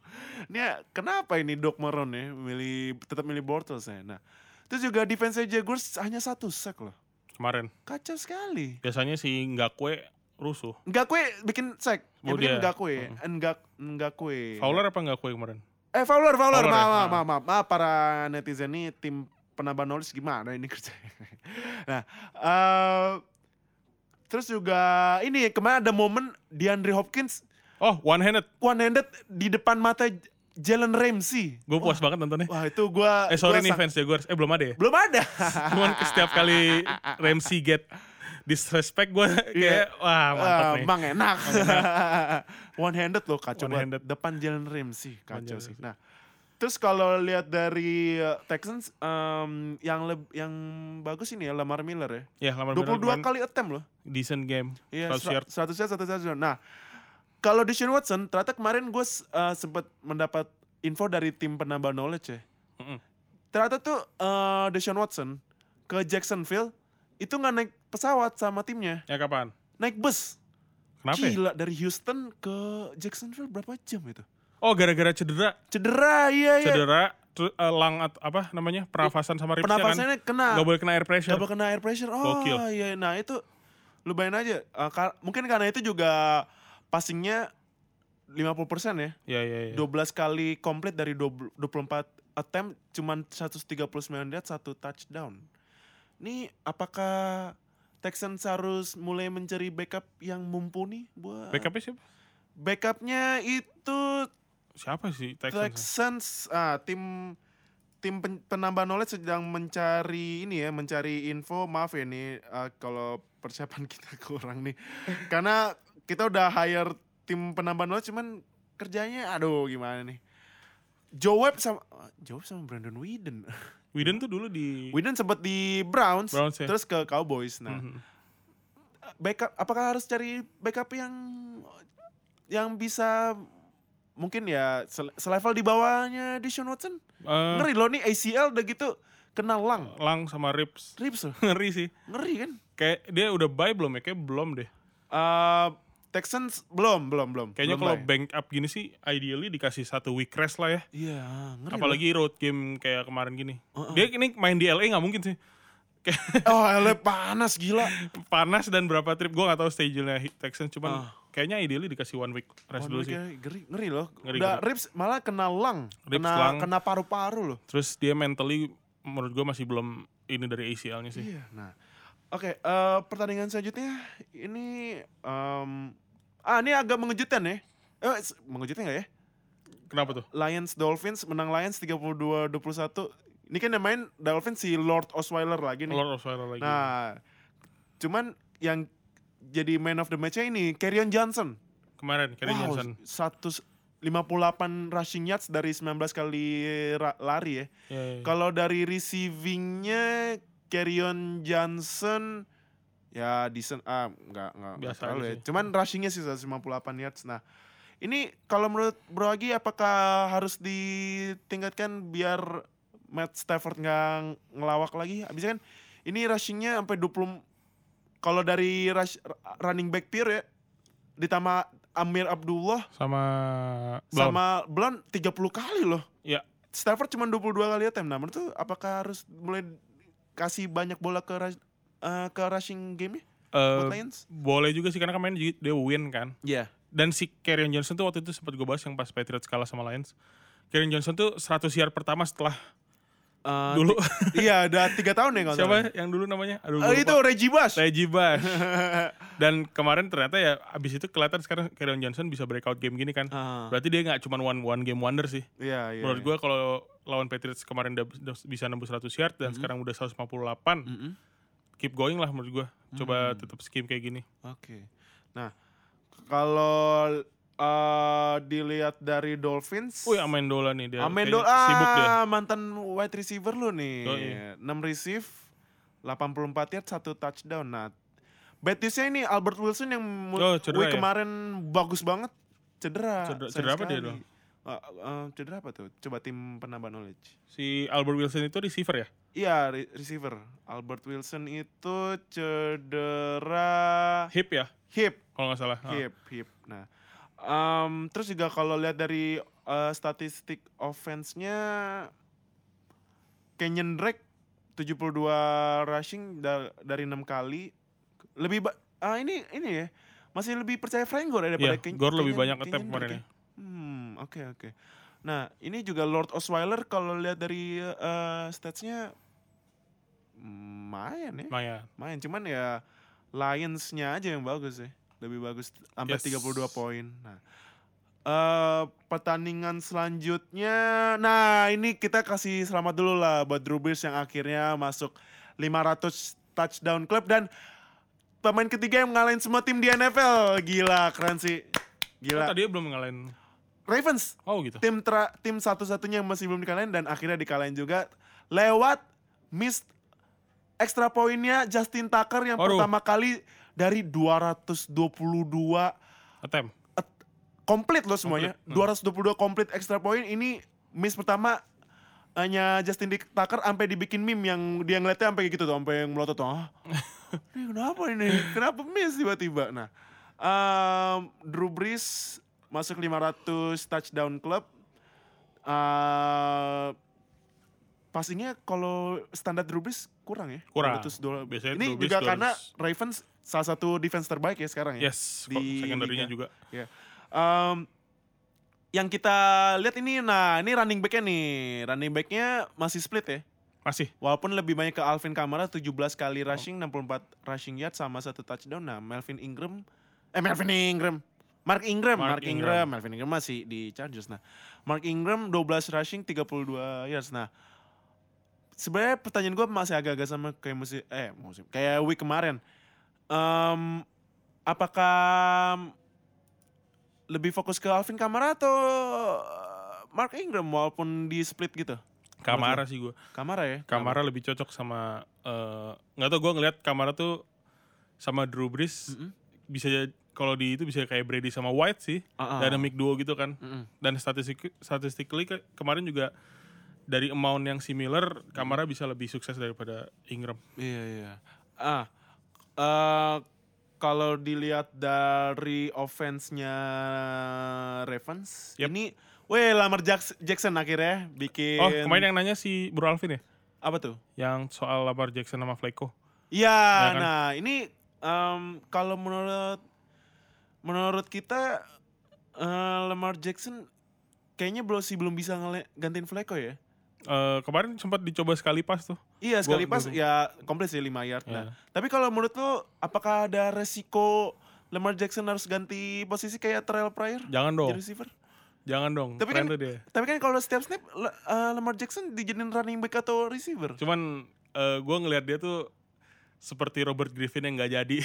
Ini ya, kenapa ini Doc Maron ya milih tetap milih Bortles ya. Nah, terus juga defense Jaguars hanya satu sack loh.
Kemarin.
Kacau sekali.
Biasanya si Ngakwe rusuh.
Enggak kue bikin sack. Yang
Oh,
bikin
dia.
enggak kue. Enggak enggak kue.
Fowler apa Ngakwe kemarin?
Eh Fowler, Fowler.
Fowler ya?
Maaf, maaf,
Ah.
maaf, maaf. Maaf, para netizen nih tim penambah knowledge gimana ini kerjanya. [LAUGHS] nah, eh, terus juga ini kemarin ada momen DeAndre Hopkins
Oh one handed.
one handed di depan mata J- Jalen Ramsey.
Gue puas banget nontonnya.
Wah ah. itu gua
Eh sorry
gua
nih
sang-
fans Jaguars. Eh belum ada ya?
Belum ada. [LAUGHS]
Cuman setiap kali Ramsey get disrespect gue kayak wah mantap
Eh,
nih.
Bang enak. One handed loh kacau banget.
[LAUGHS] One-handed.
Depan Jalen Ramsey kacau
Jalen
sih. Nah, terus kalau lihat dari eh, Texans em, yang leb- yang bagus ini ya Lamar Miller ya.
Ya Lamar Miller
22
kemarin
kali attempt loh.
decent game.
Iya,
Seratus yard.
100 yard, 1 touchdown. Nah, kalau Deshaun Watson, ternyata kemarin gue sempat mendapat info dari tim penambah knowledge ya.
Mm-mm.
Ternyata tuh eh, Deshaun Watson ke Jacksonville itu nggak naik pesawat sama timnya,
Ya kapan?
naik bus.
Kenapa? ya?
Gila dari Houston ke Jacksonville berapa jam itu?
Oh gara-gara cedera.
Cedera iya iya.
Cedera tru- eh, lang at apa namanya pernafasan sama ribsnya
Pernafasannya
kan
kena.
nggak boleh kena air pressure
Gak kena air pressure. Oh
Gokil.
iya, nah itu lu bayangin aja. eh, kar- mungkin karena itu juga passingnya 50% ya.
ya ya ya
12 kali komplit dari 20 24 attempt cuman 139 yard satu touchdown. Ini apakah Texans harus mulai mencari backup yang mumpuni buat
backupnya siapa
backupnya itu
siapa sih Texans
Texans ah, tim tim pen- penambah knowledge sedang mencari ini ya mencari info maaf ya nih ah, kalau persiapan [LAUGHS] kita kurang nih karena kita udah hire tim penambah knowledge cuman kerjanya aduh gimana nih Joe Webb sama Joe Webb sama Brandon Whedon
Widen tuh dulu di
Whedon sempet di Browns,
Iya. Browns, ya.
terus ke Cowboys nah
Mhm.
backup apakah harus cari backup yang yang bisa mungkin ya se- selevel di bawahnya Deshaun Watson?
Eh,
Ngeri loh nih ACL udah gitu kena lang.
lang sama ribs
Ribs loh.
[LAUGHS] ngeri sih
Ngeri kan?
kayak dia udah buy belum ya kayak belum deh
Eh, Texans belum, belum, belum.
kayaknya
Belum
kalau
baik.
bank up gini sih ideally dikasih satu week rest lah ya
Iya, ngeri.
apalagi road game kayak kemarin gini dia ini main di LA nggak mungkin sih [LAUGHS] Kayak
loh. [LAUGHS] Oh, LA panas gila.
panas dan berapa trip gue nggak tahu schedule-nya Texans cuman
Ah.
kayaknya ideally dikasih one week rest
Oh,
dulu sih
ngeri, ngeri, ngeri loh.
Ngeri,
udah ribs malah kena lang.
Ribs,
kena
lung.
kena paru-paru loh.
terus dia mentally menurut gue masih belum ini dari ACL-nya sih
Iya. Nah, oke. eh, pertandingan selanjutnya ini, em, ah ini agak mengejutkan ya. Eh, s- mengejutkan nggak ya?
kenapa tuh
Lions Dolphins menang Lions 32-21. Ini kan yang main Dolphins si Lord Osweiler lagi nih.
Lord of Fire lagi
Nah, cuman yang jadi man of the match ini Kerryon Johnson.
kemarin Kerry
wow,
Johnson
158 rushing yards dari 19 kali ra- lari ya.
Ya, ya, ya.
Kalau dari receivingnya Kerryon Johnson ya decent ah nggak nggak nggak
Biasa
terlalu
aja
ya.
sih.
Cuman rushingnya sih 158 yards. Nah ini kalau menurut Bro Agi apakah harus ditingkatkan biar Matt Stafford nggak ngelawak lagi? Abisnya kan ini rushingnya sampai 20 kalau dari rush, running back pure ya ditambah Amir Abdullah
sama Blount.
sama Blount 30 kali loh.
ya
Stafford cuma 22 kali attempt. Nah, menurut lu apakah harus mulai kasih banyak bola ke rush- eh, ke rushing game nya
eh,
buat Lions?
boleh juga sih karena kemarin juga dia win kan
Iya.
dan si Kerryon Johnson tuh waktu itu sempat gue bahas yang pas Patriots kalah sama Lions Kerryon Johnson tuh 100 yard pertama setelah [LAUGHS] dulu
iya, udah 3 tahun ya kalau nggak
siapa yang dulu namanya aduh
salah. Eh,
gua
itu
lupa.
Reggie Bush.
Reggie
[LAUGHS]
Bush dan kemarin ternyata ya abis itu kelihatan sekarang Kerryon Johnson bisa breakout game gini kan
Ah,
berarti dia nggak cuma one one game wonder sih
Iya, iya.
menurut gue kalau lawan Patriots kemarin udah- udah bisa nembus 100 yard dan sekarang udah 158
Mm-mm.
keep going lah menurut gue coba tetap scheme kayak gini
Oke. Nah, kalau eh, dilihat dari Dolphins,
Wih Amendola nih dia
Amendola
Iya, kayaknya sibuk dia
ah, mantan wide receiver lu nih.
Oh, iya.
6 receive, 84 yard, 1 touchdown. Nah, Betisnya ini Albert Wilson yang mu-
Oh, cedera
week
ya?
kemarin bagus banget. Cedera. sayang
Cedera- cedera apa dia
sekali.
dong?
Eh, eh, cedera apa tuh? Coba tim penambah knowledge.
si Albert Wilson itu receiver ya
Iya, re- receiver. Albert Wilson itu cedera
hip ya
hip.
kalau nggak salah Ah.
Hip, hip. Nah, em, terus juga kalau lihat dari eh, statistik offense-nya, Kenyon Drake 72 rushing da- dari 6 kali. Lebih ba- ah ini ini ya. Masih lebih percaya Frank Gore daripada
Iya,
Ken-
Gore
Kenyon-
lebih banyak
Kenyon
ngetap
Drake
kemarin
ya.
ya.
Hmm, oke oke. Nah, ini juga Lord Osweiler kalau lihat dari eh, statsnya lumayan ya
Maya.
main cuman ya Lions-nya aja yang bagus sih lebih bagus sampai
Yes.
32 poin nah eh pertandingan selanjutnya nah ini kita kasih selamat dulu lah buat Drew Brees yang akhirnya masuk 500 touchdown club dan pemain ketiga yang ngalahin semua tim di NFL gila keren sih
Oh,
gila
tadi belum ngalahin.
Ravens
Oh gitu.
tim tra- tim satu-satunya yang masih belum dikalahin dan akhirnya dikalahin juga lewat miss extra poinnya Justin Tucker yang
Waduh.
pertama kali dari 222
Atem.
komplit loh semuanya.
Hmm.
222 komplit extra point ini miss pertama hanya Justin Dick Tucker sampai dibikin meme yang dia ngeliatnya sampai gitu tuh, sampai yang melotot tuh. Ah,
[LAUGHS]
ini kenapa ini? Kenapa miss tiba-tiba? Nah, em, Drew Brees masuk 500 touchdown club. Eh passingnya kalau standar Drew Brees kurang ya.
Kurang.
200
Biasanya
Ini
Drew Brees
juga karena
200.
Ravens salah satu defense terbaik ya sekarang ya.
Yes,
Di
kok
liga.
secondary-nya juga.
Ya. Em, yang kita lihat ini, nah ini running back-nya nih. Running back-nya masih split ya.
Masih.
Walaupun lebih banyak ke Alvin Kamara 17 kali rushing, 64 rushing yard sama satu touchdown. Nah, Melvin Ingram eh Melvin Ingram. Mark Ingram, Mark,
Mark
Ingram.
Ingram.
Melvin Ingram masih di Chargers. Nah, Mark Ingram 12 rushing, 32 yards. Nah, sebenarnya pertanyaan gue masih agak-agak sama kayak musim eh musim kayak week kemarin. Em, apakah lebih fokus ke Alvin Kamara atau eh, Mark Ingram walaupun di split gitu?
Kamara sih gue.
Kamara ya.
Kamara lebih cocok sama eh, nggak tau gue ngeliat Kamara tuh sama Drew Brees
Mm-mm.
bisa j- kalau di itu bisa kayak Brady sama White sih
Ah, ah.
dynamic duo gitu kan
Mm-mm.
dan statistik statistically ke- kemarin juga dari amount yang similar Kamara bisa lebih sukses daripada Ingram
Iya iya. Ah, eh, kalau dilihat dari offense-nya Ravens,
Yep.
ini, weh Lamar Jacks- Jackson akhirnya bikin
oh kemarin yang nanya si Bro Alvin ya
apa tuh?
yang soal Lamar Jackson sama Flacco
Iya,
kan?
nah ini em, kalau menurut menurut kita eh, Lamar Jackson kayaknya belum sih belum bisa ngele- gantiin Flacco ya.
Eh, kemarin sempat dicoba sekali pas tuh
Iya sekali
Gua-
pas
gua-
ya komplit sih 5 yard. Nah,
Iya.
tapi kalau menurut lo apakah ada resiko Lamar Jackson harus ganti posisi kayak Terrell Pryor
jangan dong
jadi receiver?
jangan dong
Tapi
keren
kan-
tuh dia
Tapi kan kalau setiap snap Le- eh, Lamar Jackson dijadiin running back atau receiver.
cuman eh, gue ngelihat dia tuh seperti Robert Griffin yang nggak
[LAUGHS]
jadi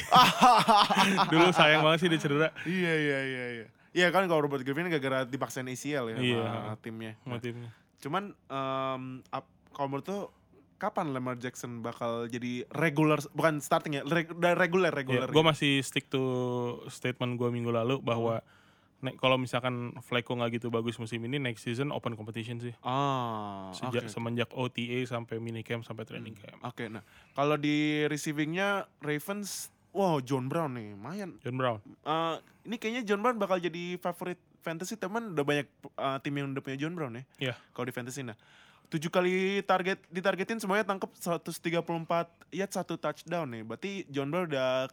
dulu sayang banget sih dia cedera
iya iya iya iya. Iya kan kalau Robert Griffin gara-gara dipaksain ACL ya
Iya.
sama timnya.
sama timnya.
Cuman em, ap- kalau menurut tuh kapan Lamar Jackson bakal jadi regular bukan starting ya reg- udah regular regular. gitu?
gue masih stick to statement gue minggu lalu bahwa ne- kalau misalkan Flacco nggak gitu bagus musim ini next season open competition sih
Ah,
sejak
oke.
semenjak OTA sampai minicamp sampai training camp
Oke, nah kalau di receivingnya Ravens, wow John Brown nih, lumayan.
John Brown
Eh, ini kayaknya John Brown bakal jadi favorit fantasy teman. Udah banyak eh, tim yang udah punya John Brown ya.
Iya.
Kalau di fantasy nah. 7 kali target ditargetin semuanya tangkep 134 yard satu touchdown nih. Berarti John Brown udah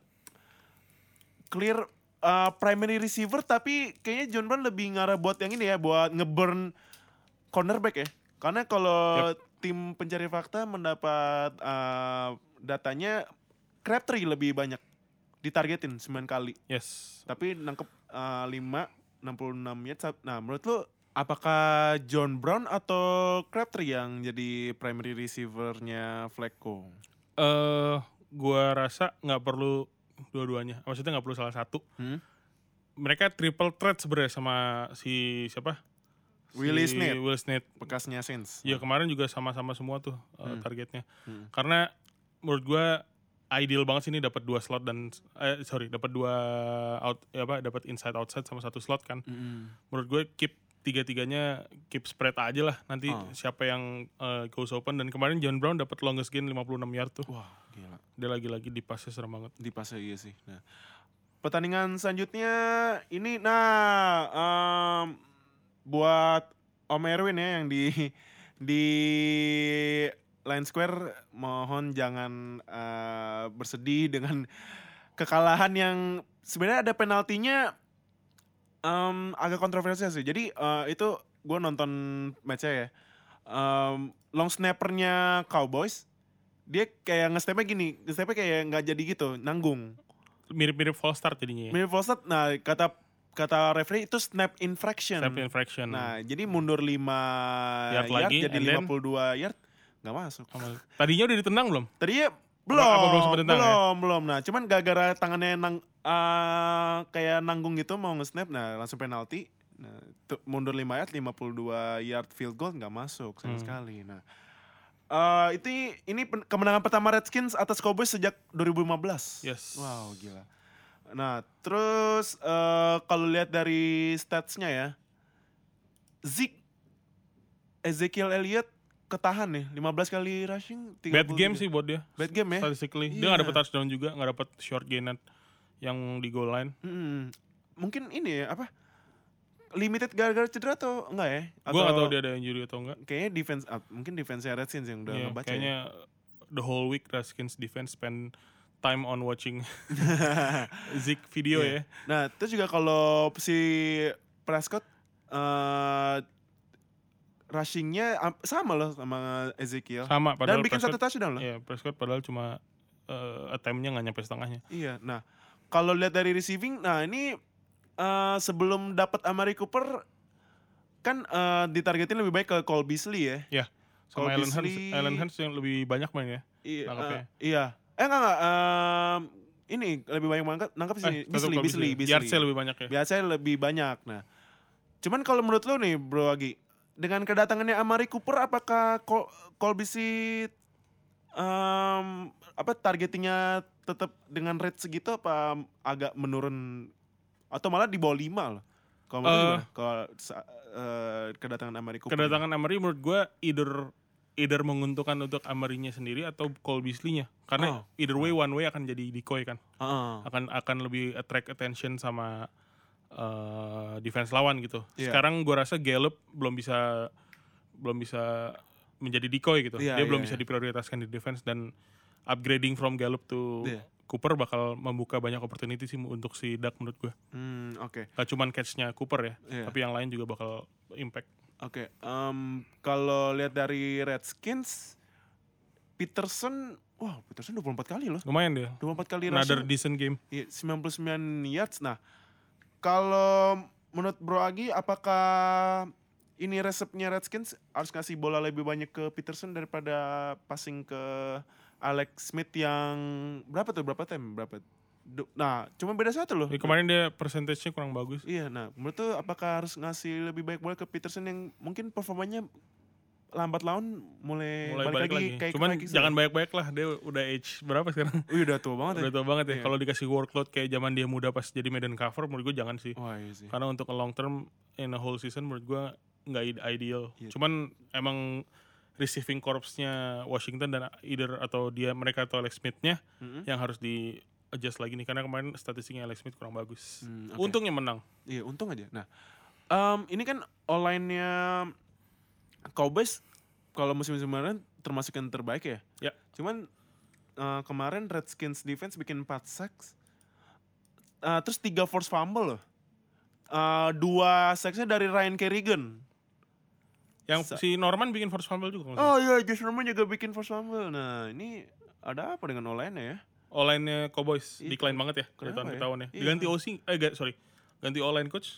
clear eh, primary receiver tapi kayaknya John Brown lebih ngarah buat yang ini ya buat ngeburn cornerback ya. Karena kalau tim pencari fakta mendapat eh, datanya Crabtree lebih banyak ditargetin 9 kali
yes
tapi nangkep uh, 5 66 yard sab- nah menurut lu apakah John Brown atau Crabtree yang jadi primary receivernya Flacco
eh gue rasa nggak perlu dua-duanya maksudnya nggak perlu salah satu
hmm?
mereka triple threat sebenarnya sama si siapa
Willie
si
Snead.
Will Snead
bekasnya Saints
Ya kemarin juga sama-sama semua tuh uh,
Hmm.
targetnya.
Hmm.
Karena menurut gua ideal banget sih ini dapat dua slot dan eh sorry dapat dua out ya apa dapat inside outside sama satu slot kan.
Mm-mm.
Menurut gue keep tiga-tiganya keep spread aja lah nanti
Oh.
siapa yang eh, goes open dan kemarin John Brown dapat longest gain 56 yard tuh.
wah gila
Dia lagi-lagi di pasnya serem banget.
di pasnya iya sih nah pertandingan selanjutnya ini nah em, buat Om Erwin ya yang di di Line Square mohon jangan eh, bersedih dengan kekalahan yang sebenarnya ada penaltinya em, agak kontroversial sih jadi eh, itu gue nonton matchnya ya Em, long snappernya Cowboys dia kayak nge-stepnya gini nge-stepnya kayak nggak jadi gitu nanggung
Mirip-mirip false start jadinya ya.
Mirip false start, nah kata kata referee itu snap infraction.
Step infraction.
Nah, jadi mundur 5 yard,
Yard lagi,
jadi
and then-
52 yard nggak masuk.
Sama- Tadinya udah ditendang belum?
Tadinya belum,
apa belum
belum,
sempet ditendang ya?
belum, Nah, cuman gara-gara tangannya nang eh, kayak nanggung gitu mau nge-snap, nah langsung penalti. Nah, tu- mundur 5 yard, 52 yard field goal nggak masuk sama
Hmm.
sekali. Nah, eh, itu ini pen- kemenangan pertama Redskins atas Cowboys sejak 2015.
Yes.
Wow, gila. Nah, terus eh, kalau lihat dari statsnya ya, Zeke Ezekiel Elliott ketahan nih, 15 kali rushing. 33.
Bad game sih buat dia.
Bad game ya.
statistically dia
gitu. Iya.
nggak dapet touchdown juga nggak dapet short gain yang di goal line
Mm-mm. Mungkin ini ya apa? limited gara-gara cedera atau enggak ya?
Gue gak tau dia ada injury atau enggak.
Kayaknya defense ah, mungkin defense Redskins yang udah
Iya,
ngebaca. ya.
kayaknya the whole week Redskins defense spend time on watching [LAUGHS] Zeke video ya.
[LAUGHS] Nah, terus juga kalau si Prescott eh rushingnya am- sama loh sama Ezekiel.
Sama
Dan
padahal
bikin satu
Prescott,
touchdown loh.
Iya, Prescott padahal cuma eh, attempt-nya nggak nyampe setengahnya.
Iya. Nah, kalau lihat dari receiving, nah ini eh sebelum dapat Amari Cooper kan eh ditargetin lebih baik ke Cole Beasley ya.
Sama
Kalau
Allen Hurts,
Beasley-
Allen Hurts yang lebih banyak main ya.
Iya.
Nangkepnya.
eh, iya. Eh enggak enggak. em, ini lebih banyak nangkap nangkap sih
Eh,
Beasley,
tetap kalau
Beasley, Beasley.
Yardsnya lebih banyak ya.
biasanya lebih banyak. Nah, cuman kalau menurut lo nih, Bro Agi, dengan kedatangannya Amari Cooper, apakah Col- Colby Seed, em, apa targetingnya tetap dengan rate segitu apa agak menurun atau malah di bawah lima loh? Kalau menurut lo
Eh.
gimana? kalau sa- eh, kedatangan Amari Cooper,
Kedatangan Amari menurut gue either either menguntungkan untuk Amarinya sendiri atau Cole Beasley-nya. Karena
Oh.
either way one way akan jadi decoy kan.
Heeh.
akan akan lebih attract attention sama eh, defense lawan gitu.
Iya.
Sekarang gua rasa Gallup belum bisa belum bisa menjadi decoy gitu.
Iya,
Dia belum
iya,
bisa
iya.
diprioritaskan di defense dan upgrading from Gallup to
Iya.
Cooper bakal membuka banyak opportunity sih untuk si Dak menurut gua.
Hmm, oke,
Gak cuman catch-nya Cooper ya,
Iya.
tapi yang lain juga bakal impact.
oke. Em, kalau lihat dari Redskins, Peterson, wah Peterson 24 kali loh.
Lumayan dia.
24 kali rushing.
Another decent game.
Iya, 99 yards. Nah, kalau menurut Bro Agi, apakah ini resepnya Redskins harus ngasih bola lebih banyak ke Peterson daripada passing ke Alex Smith yang berapa tuh berapa time berapa? Du- Nah, cuma beda satu loh.
Tapi kemarin dia percentage-nya kurang bagus.
Iya, nah menurut tuh apakah harus ngasih lebih banyak bola ke Peterson yang mungkin performanya lambat laun mulai,
Mulai balik, lagi.
iya, kayak
Cuman
kayak gitu.
jangan banyak-banyak lah, dia udah age berapa sekarang?
Wih, udah tua banget ya.
Udah tua banget ya.
Iya.
Kalau dikasih workload kayak zaman dia muda pas jadi Madden cover, menurut gue jangan sih.
Wah, iya sih.
Karena untuk long term in a whole season menurut gue nggak ide- ideal.
Iya.
Cuman emang receiving corpsnya Washington dan either atau dia mereka atau Alex Smith-nya
Mm-mm.
yang harus di adjust lagi nih karena kemarin statistiknya Alex Smith kurang bagus.
Hmm, oke.
Untungnya menang.
Iya, untung aja. Nah, em, ini kan online-nya Cowboys kalau musim kemarin termasuk yang terbaik ya.
Ya.
Cuman eh, kemarin Redskins defense bikin 4 sacks. Eh, terus 3 force fumble loh. Eh, dua sacksnya dari Ryan Kerrigan. Sa-
Yang si Norman bikin force fumble juga. kalau nggak
Oh iya, Josh Norman juga bikin force fumble. Nah, ini ada apa dengan online ya?
salah. All-line-nya Cowboys
Itu.
decline banget ya
Iya.
dari
Kenapa
tahun ke
ya?
tahun ya.
Iya.
Diganti OC eh ga- sorry. Ganti all-line coach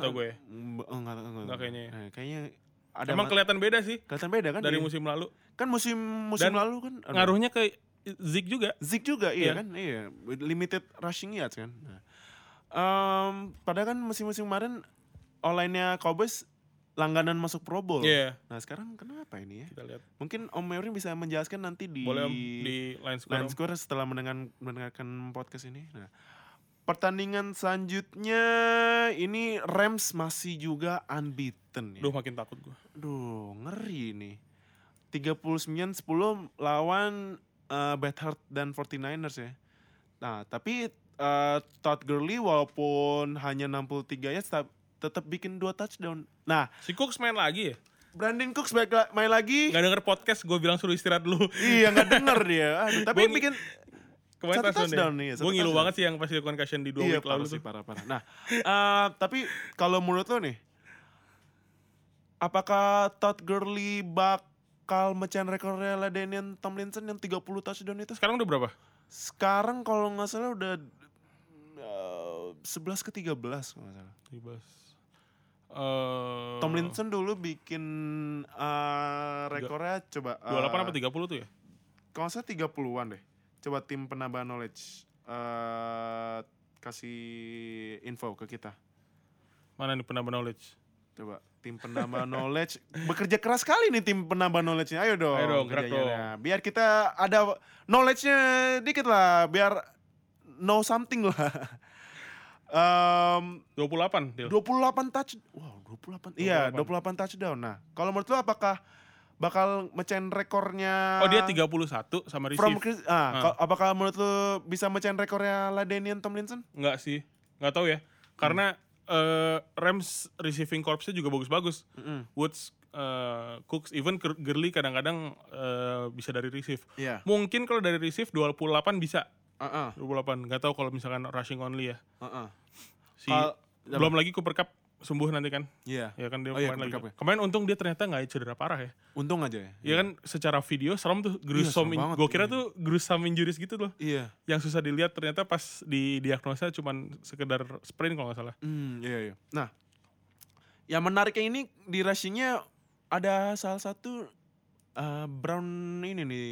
Ah,
tahu gue ya.
mm, Enggak, enggak, enggak.
Enggak kayaknya ya.
Eh, kayaknya ada
Emang
ma-
kelihatan beda sih
kelihatan beda kan?
dari
Iya.
musim lalu.
kan musim musim
Dan
lalu kan aduh.
ngaruhnya ke Zig juga.
Zeke juga iya
Iya.
kan iya limited rushing yards kan nah. Em, padahal kan musim-musim kemarin online-nya Cowboys langganan masuk Pro Bowl
Iya,
nah sekarang kenapa ini ya
kita lihat.
mungkin Om Mary bisa menjelaskan nanti di
Boleh Om, di line square.
Line
Om.
Square setelah mendengar, mendengarkan podcast ini nah pertandingan selanjutnya ini Rams masih juga unbeaten ya.
Duh makin takut gue.
Duh, ngeri nih. 39-10 lawan eh, Bad Heart dan 49ers ya. Nah, tapi eh, Todd Gurley walaupun hanya 63 yards tetap, tetap bikin dua touchdown. Nah,
Si Cooks main lagi ya?
Brandon Cooks balik la- main lagi.
Gak denger podcast, gue bilang suruh istirahat dulu. [LAUGHS]
Iya, nggak denger dia. Aduh, tapi
Gua-
bikin
Kemarin
Satu touchdown, iya, satu
Gue ngilu
touchdown.
banget sih yang pas dia concussion di dua
iya,
week lalu
parah sih,
tuh.
parah-parah. Nah, eh, tapi kalau menurut lo nih, apakah Todd Gurley bakal mecahin rekornya Ladanian Tomlinson yang 30 touchdown itu?
Sekarang udah berapa?
Sekarang kalau nggak salah udah eh, 11 ke 13 kalau nggak salah.
Ribas. Eh,
Tomlinson dulu bikin eh, rekornya coba
28 apa
eh,
30 tuh ya?
Kalau nggak salah 30-an deh. Coba tim penambah knowledge eh, kasih info ke kita.
Mana nih penambah knowledge?
Coba tim penambah knowledge bekerja keras sekali nih tim penambah knowledge-nya. Ayo dong.
Ayo dong, gerak
kerjanya
dong.
dah. Biar kita ada knowledge-nya dikit lah, biar know something lah. [LAUGHS] Em,
28, Dil.
28 touch. Wow, 28. Iya, 28 touchdown. Nah, kalau menurut lu apakah bakal mecahin rekornya
Oh dia 31 sama
from
receive?
Chris, ah, ka- apakah menurut lu bisa mecahin rekornya Ladenian Tomlinson?
Enggak sih. Enggak tahu ya. Karena eh, Rams receiving corpsnya juga bagus-bagus.
Mm-mm.
Woods, eh, Cooks, even Ger- Gurley kadang-kadang eh, bisa dari receive.
Iya.
Mungkin kalau dari receive 28 bisa.
Heeh.
28, nggak tahu kalau misalkan rushing only ya.
Heeh.
Si,
uh-uh. Kal-
belum lagi Cooper Cup sembuh nanti kan.
Iya.
Ya kan
Oh
dia
iya,
kemarin lagi.
Cooper Cup ya.
Kemarin untung dia ternyata nggak cedera parah ya.
Untung aja ya.
Ya kan secara video serem tuh
serem
gruesome. in-
banget,
gua kira
iya.
tuh gruesome injuries gitu loh.
Iya.
Yang susah dilihat ternyata pas di diagnosa cuman sekedar sprain kalau nggak salah.
Hmm, iya iya. Nah, yang menariknya ini di rushingnya ada salah satu eh, Brown ini nih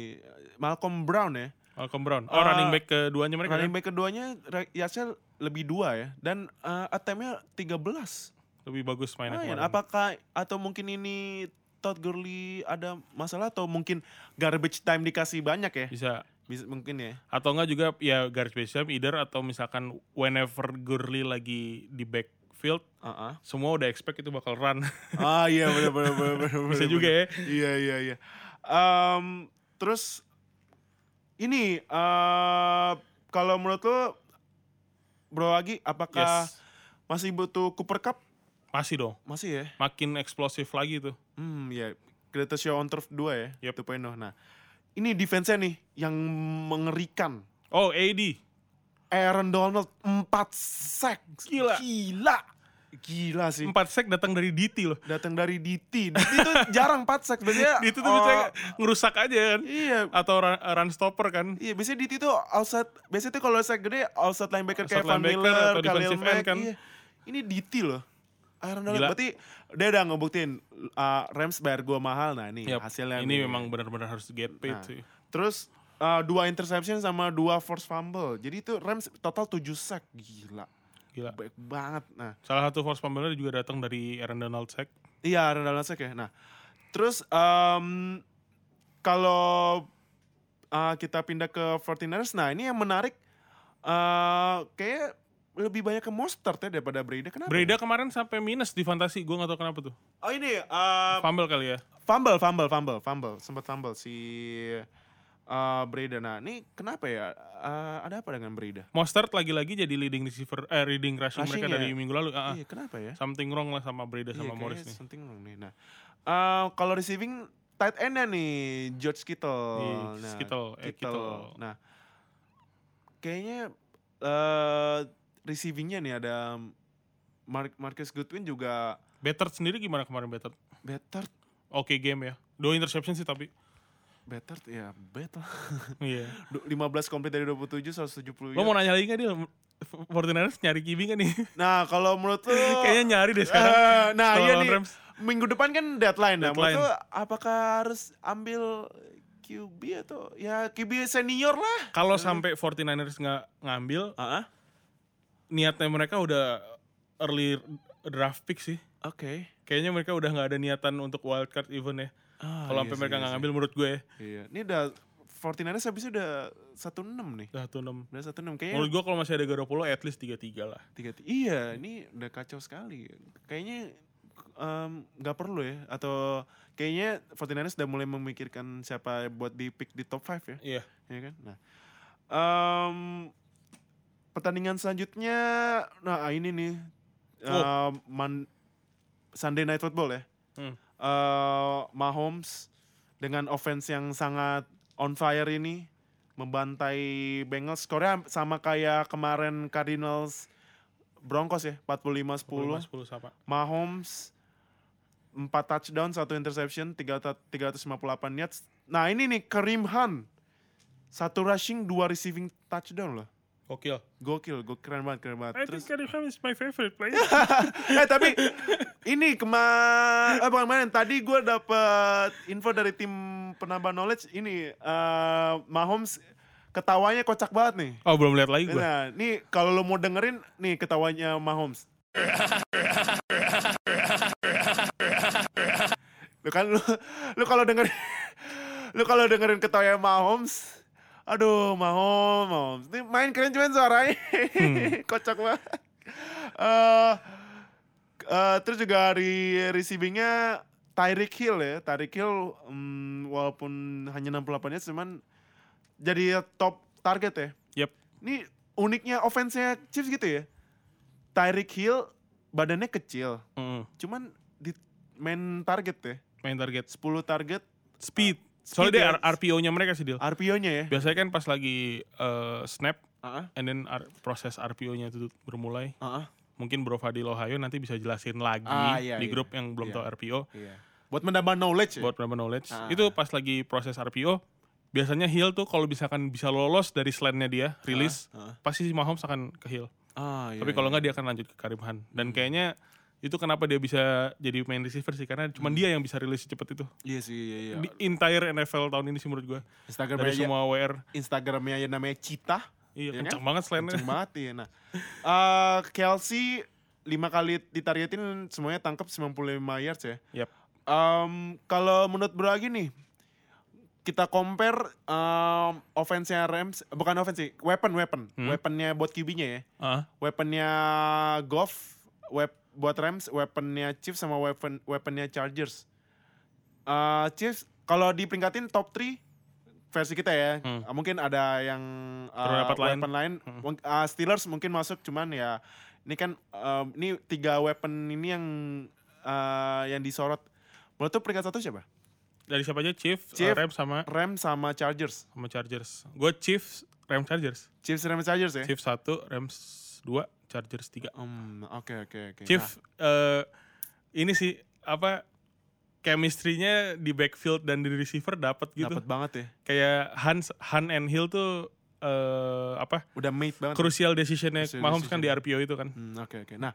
Malcolm Brown ya.
Malcolm Brown. Oh,
Eh,
running back keduanya mereka.
Running
kan?
back keduanya ra- yardsnya lebih dua ya dan eh, attempt-nya 13.
Lebih bagus mainnya
Lumayan.
kemarin.
Apakah atau mungkin ini Todd Gurley ada masalah atau mungkin garbage time dikasih banyak ya?
Bisa
Bisa, mungkin ya.
atau enggak juga ya garis time either atau misalkan whenever Gurley lagi di backfield
Heeh.
semua udah expect itu bakal run. [LAUGHS]
ah iya benar benar benar benar.
Bisa
benar,
juga
benar.
ya.
Iya iya iya. Em, terus ini eh kalau menurut lo Bro Agi apakah
Yes.
masih butuh Cooper Cup?
Masih dong.
Masih ya.
Makin eksplosif lagi tuh.
Hmm ya. Greatest Show on Turf 2 ya.
Yep.
2.0. Nah, ini defense-nya nih yang mengerikan.
Oh, AD.
Aaron Donald 4 sack.
Gila.
Gila. Gila sih.
4 sack datang dari DT loh.
Datang dari DT. DT itu [LAUGHS] jarang 4 sack biasanya.
DT tuh
eh,
biasanya ngerusak aja kan.
Iya,
Atau run, run stopper kan.
Iya, biasanya DT tuh outside, biasanya tuh kalau saya gede outside linebacker
Outside
kayak Van
linebacker
Miller,
atau
Khalil
defensive
Mack.
end kan.
Iya. Ini DT loh. Aaron Donald
Gila.
berarti dia udah ngebuktiin uh, Rams bayar gua mahal nah ini
Yap,
hasilnya. nih.
ini memang benar-benar harus get paid
Nah,
sih.
Terus uh, dua interception sama dua force fumble. Jadi itu Rams total 7 sack. Gila.
Gila.
Baik banget. Nah,
Salah satu force fumble juga datang dari Aaron Donald sack.
Iya, Aaron Donald sack ya. Nah, terus em, kalau eh, kita pindah ke 49ers, nah ini yang menarik eh kayak lebih banyak ke Mostert ya daripada Breda. Kenapa?
Breda kemarin sampai minus di fantasi, gua nggak tahu kenapa tuh.
Oh ini eh,
Fumble kali ya.
fumble, fumble, fumble, fumble, sempat fumble si eh Breda. Nah ini kenapa ya? Eh, ada apa dengan Breda?
Mostert lagi-lagi jadi leading receiver, eh leading rushing,
Rushing
mereka
ya?
dari minggu lalu. Ah, ah.
Iya kenapa ya?
Something wrong lah sama Breda
iya,
sama Morris
kayaknya
nih.
something wrong nih. Nah, eh, kalau receiving tight end-nya nih George Kittle.
Iya,
nah,
Kittle, eh, Kittle.
Nah, kayaknya eh receiving-nya nih ada Mark Marcus Goodwin juga
Better sendiri gimana kemarin Better?
better
Oke game ya. Dua interception sih tapi.
better ya better. [LAUGHS]
Iya.
Du- 15 complete dari 27 170.
Lo
yard.
mau nanya lagi nggak dia? Fortiners nyari kibi nggak nih?
Nah, kalau menurut lu
[LAUGHS] Kayaknya nyari deh sekarang.
Eh, nah,
Setelah
iya
lawan
nih.
Rams.
Minggu depan kan deadline. Nah, menurut
Deadline.
lu apakah harus ambil QB atau ya QB senior lah?
Kalau sampai 49ers nggak ngambil,
Heeh.
niatnya mereka udah early draft pick sih.
Oke.
Kayaknya mereka udah nggak ada niatan untuk wildcard event ya.
Ah,
Kalau sampai mereka nggak ngambil menurut gue ya,
Iya. Ini udah 49ers habis itu udah 16 nih.
udah tuh enam.
Udah 16 kayaknya.
Menurut gue kalau masih ada Garoppolo at least 3-3 lah.
Tiga, ti- iya, ini udah kacau sekali. Kayaknya em, nggak perlu ya atau kayaknya 49ers udah mulai memikirkan siapa buat di pick di top 5 ya.
Iya.
Iya kan? Nah. em, pertandingan selanjutnya nah ah, ini nih
Oh.
em, Man- Sunday Night Football ya.
Hmm.
eh Mahomes dengan offense yang sangat on fire ini membantai Bengals skornya sama kayak kemarin Cardinals Broncos ya 45-10
10 sama.
Mahomes 4 touchdown, 1 interception, 3 ta- 358 yards. Nah, ini nih Kareem Hunt. Satu rushing, dua receiving touchdown loh.
Gokil.
Gokil, gokil keren banget, keren banget. Terus,
Karim Ham is my favorite player.
eh tapi ini kemarin, eh bukan kemarin, tadi gue dapet info dari tim penambah knowledge ini, eh Mahomes ketawanya kocak banget nih.
[LAUGHS] oh belum lihat lagi gue.
Nah, nih kalau lo mau dengerin nih ketawanya Mahomes. lu kan lu, lu kalau dengerin [LAUGHS] lu kalau dengerin ketawanya Mahomes, aduh Mahomes, Mahomes. Ini main keren cuman suaranya. [LAUGHS] Kocak banget. Eh, eh, terus juga di receivingnya Tyreek Hill ya. Tyreek Hill mm, walaupun hanya 68 nya cuman jadi top target ya.
Yep.
Ini uniknya offense-nya Chiefs gitu ya. Tyreek Hill badannya kecil,
Mm,
cuman di main target ya.
main target
10 target
speed.
Ah, Speed
Soalnya dia
ya.
R- RPO-nya mereka sih deal.
RPO-nya ya.
Biasanya kan pas lagi eh, snap
Heeh.
and then R- proses RPO-nya itu bermulai.
Heeh.
Mungkin Bro Fadil Ohio nanti bisa jelasin lagi
Ah, iya,
di
iya.
grup yang belum
Iya.
tahu RPO
Iya. Buat menambah knowledge ya.
buat menambah knowledge.
Ah.
Itu pas lagi proses RPO biasanya heel tuh kalau misalkan bisa lolos dari slant-nya dia rilis
Heeh.
pasti si Mahomes akan ke heel.
Ah, iya, Hmm.
Tapi kalau nggak dia akan lanjut ke Karim Khan. Dan kayaknya itu kenapa dia bisa jadi main receiver sih
Hmm.
karena cuma dia yang bisa rilis cepat itu.
iya sih iya iya.
Di entire NFL tahun ini sih menurut gua.
Instagramnya
Dari
aja-
semua WR.
Instagramnya yang namanya Cita. Iya
Iya, kencang banget selainnya.
Kenceng banget ya. Nah, Eh, Kelsey lima kali ditargetin semuanya tangkap 95 yards ya.
[LAUGHS] Yap.
Em, kalau menurut Bro Agi nih, kita compare em offense-nya Rams, bukan offense sih, weapon, weapon.
Hmm.
Weaponnya buat QB-nya ya.
Ah,
Weaponnya Goff, web, buat Rams, weaponnya Chiefs sama weapon, weaponnya Chargers. Eh, Chiefs, kalau diperinkatin top 3 versi kita ya,
Hmm.
eh, mungkin ada yang eh,
Terdapat lain.
weapon lain.
Hmm.
Mung- eh, Steelers mungkin masuk, cuman ya ini kan em, ini tiga weapon ini yang eh, yang disorot. Menurut tuh peringkat satu siapa?
dari siapa aja? Chiefs,
Chiefs.
eh, Rams sama
Rams sama Chargers.
sama Chargers. Gue Chiefs, Rams Chargers.
Chiefs Rams Chargers ya?
Chiefs 1, Rams 2, Chargers 3.
Hmm, Oke oke oke. Nah,
Chiefs eh, ini sih apa chemistry-nya di backfield dan di receiver dapat gitu.
Dapet banget ya.
Kayak Hans Han and Hill tuh eh, apa?
Udah mate banget.
Crucial decision-nya
Crucial
Mahomes kan di RPO itu kan.
Hmm, Oke oke. Nah,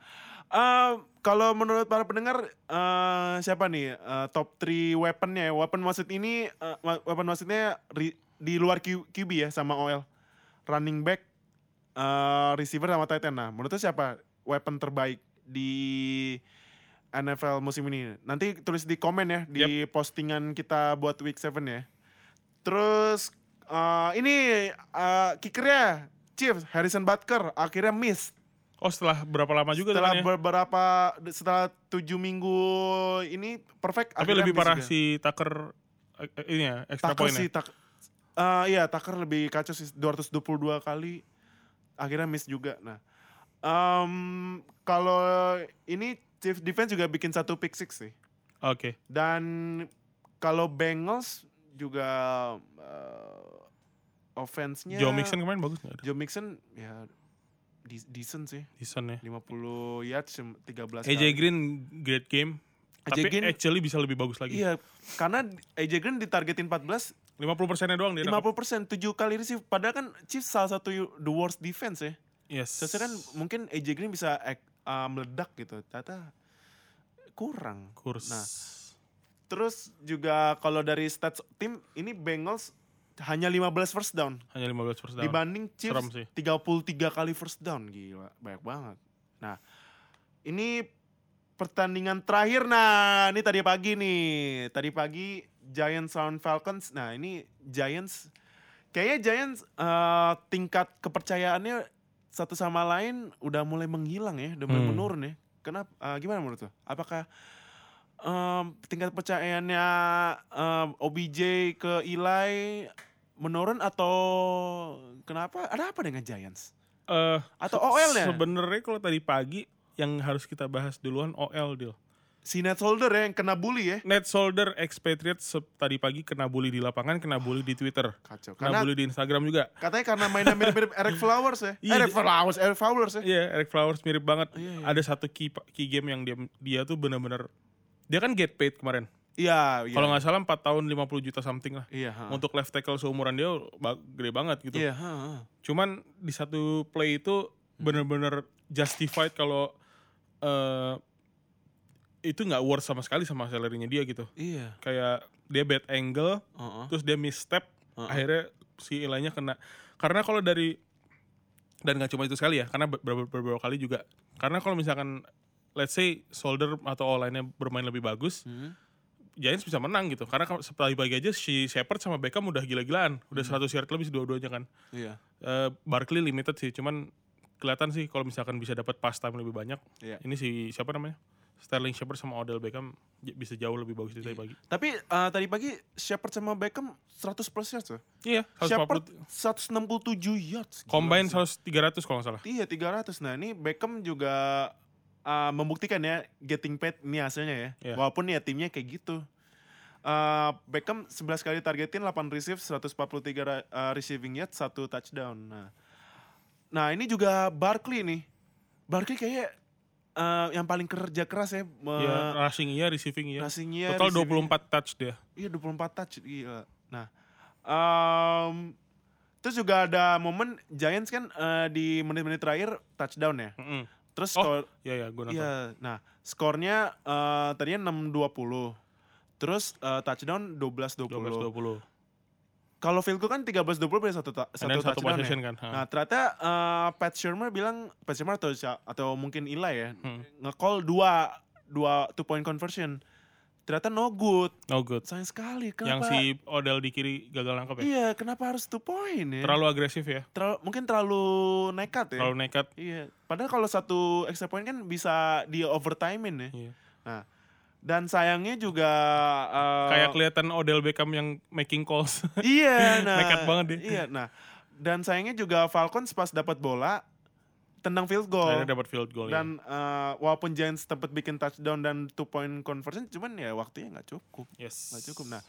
eh, kalau menurut para pendengar eh, siapa nih eh, top 3 weaponnya? ya? Weapon maksud ini eh, wa- weapon maksudnya ri- di luar Q- QB ya sama OL. Running back, eh, receiver sama tight end. Nah, menurut lu siapa weapon terbaik di NFL musim ini? Nanti tulis di komen ya di postingan kita buat week 7 ya. Terus eh, ini eh, kickernya Chiefs Harrison Butker akhirnya miss
Oh, setelah berapa lama juga
setelah
kan ya?
beberapa setelah tujuh minggu ini perfect
Tapi lebih parah si Tucker eh, eh, ini ya, extra
Tucker
point
sih tak Eh, iya Tucker lebih kacau sih 222 kali akhirnya miss juga nah em, kalau ini Chiefs defense juga bikin satu pick six sih
Oke.
dan kalau Bengals juga eh, offense-nya
Joe Mixon kemarin bagus nggak?
Joe Mixon ya de- decent sih
Season ya.
50 yards 13
AJ
kali.
Green great game.
AJ
tapi
Green-
actually bisa lebih bagus lagi.
Iya, karena AJ Green ditargetin 14,
50%-nya doang dia.
50
nangkap.
persen, 7 kali receive. Padahal kan Chiefs salah satu you- the worst defense ya.
Yes.
Seharusnya kan mungkin AJ Green bisa ek- uh, meledak gitu. Ternyata kurang.
kurs.
Nah, terus juga kalau dari stats tim, ini Bengals hanya 15 first down.
Hanya 15 first down.
Dibanding Chiefs
Serem sih.
33 kali first down. Gila, banyak banget. Nah, ini pertandingan terakhir nah ini tadi pagi nih tadi pagi Giants lawan Falcons nah ini Giants kayaknya Giants eh, tingkat kepercayaannya satu sama lain udah mulai menghilang ya udah mulai
Hmm.
menurun ya kenapa eh, gimana menurut lo apakah em, tingkat kepercayaannya eh, em, OBJ ke Eli menurun atau kenapa ada apa dengan Giants
Eh,
atau
se-
OL-nya?
Sebenarnya kalau tadi pagi yang harus kita bahas duluan OL deal.
si net holder ya yang kena bully ya
Net Solder expatriate se- tadi pagi kena bully di lapangan, kena bully di Twitter,
kacau
kena
karena
bully di Instagram juga.
Katanya karena mainnya mirip-mirip Eric Flowers ya.
Iya,
Eric
di-
Flowers, Eric Flowers ya.
Iya, Eric Flowers mirip banget.
Iya, iya.
Ada satu key, pa- key game yang dia dia tuh benar-benar dia kan get paid kemarin.
Iya, iya.
Kalau nggak salah 4 tahun 50 juta something lah.
iya, ha.
Untuk left tackle seumuran dia ba- gede banget gitu.
Iya, ha, ha.
Cuman di satu play itu bener-bener justified kalau eh, itu nggak worth sama sekali sama salary-nya dia gitu.
Iya. uh-uh.
Kayak dia bad angle,
Heeh.
terus dia misstep,
Heeh.
akhirnya si Elanya kena. Karena kalau dari dan nggak cuma itu sekali ya, karena beberapa, beberapa kali juga. Karena kalau misalkan let's say solder atau online-nya bermain lebih bagus,
Hmm.
Giants bisa menang gitu. Karena kalau setelah pagi aja si Shepard sama Beckham udah gila-gilaan, udah
Hmm.
100 yard lebih dua-duanya kan.
Iya.
Eh, Barkley limited sih, cuman kelihatan sih kalau misalkan bisa dapat pass time lebih banyak.
Iya.
Ini si siapa namanya? Sterling Shepard sama Odell Beckham j- bisa jauh lebih bagus
Iya.
dari tadi pagi.
Tapi eh, tadi pagi Shepard sama Beckham 100 plus yards ya.
Iya, 140
Shepard 167 yards. Gila
combine
sih.
100 300 kalau nggak salah.
Iya, 300. Nah, ini Beckham juga uh, membuktikan ya getting paid ini hasilnya ya.
Iya.
Walaupun ya timnya kayak gitu. Uh, Beckham 11 kali targetin, 8 receive, 143 ra- uh, receiving yard, 1 touchdown. Nah, nah ini juga Barkley nih. Barkley kayaknya uh, yang paling kerja keras ya. me-
ya rushing iya receiving iya
rushing iya,
total
receiving
24 touch dia
Iya 24 touch, gila. Nah, em, terus juga ada momen Giants kan eh, di menit-menit terakhir touchdown ya.
Mm-mm.
Terus
Oh,
skor,
iya ya gue nonton
iya. Nah, skornya eh, tadinya 6-20. Terus eh, touchdown 12-20.
12 20
Kalau field goal kan 13-20 berarti satu, ta-
And then
satu,
Nah, satu
touchdown
possession
ya.
kan, ha.
Nah, ternyata eh, Pat Shermer bilang, Pat Shermer atau, si- atau mungkin Eli ya,
Hmm.
nge-call dua, dua two point conversion. Ternyata no good.
no good
Sayang sekali.
yang
Kenapa?
si Odell di kiri gagal nangkap ya
Iya, kenapa harus two point ya?
terlalu agresif ya
Terlalu- mungkin terlalu nekat ya.
terlalu nekat
Iya. Padahal kalau satu extra point kan bisa di overtimein ya.
Iya.
Nah, dan sayangnya juga eh,
kayak kelihatan Odell Beckham yang making calls [LAUGHS]
Iya, nah.
Nekat banget dia.
Iya, nah. Dan sayangnya juga Falcons pas dapat bola tendang field goal.
akhirnya dapat field goal ya.
Oh. Dan eh, walaupun Giants sempat bikin touchdown dan two point conversion cuman ya waktunya nggak cukup.
ya. yes
nggak cukup. Nah,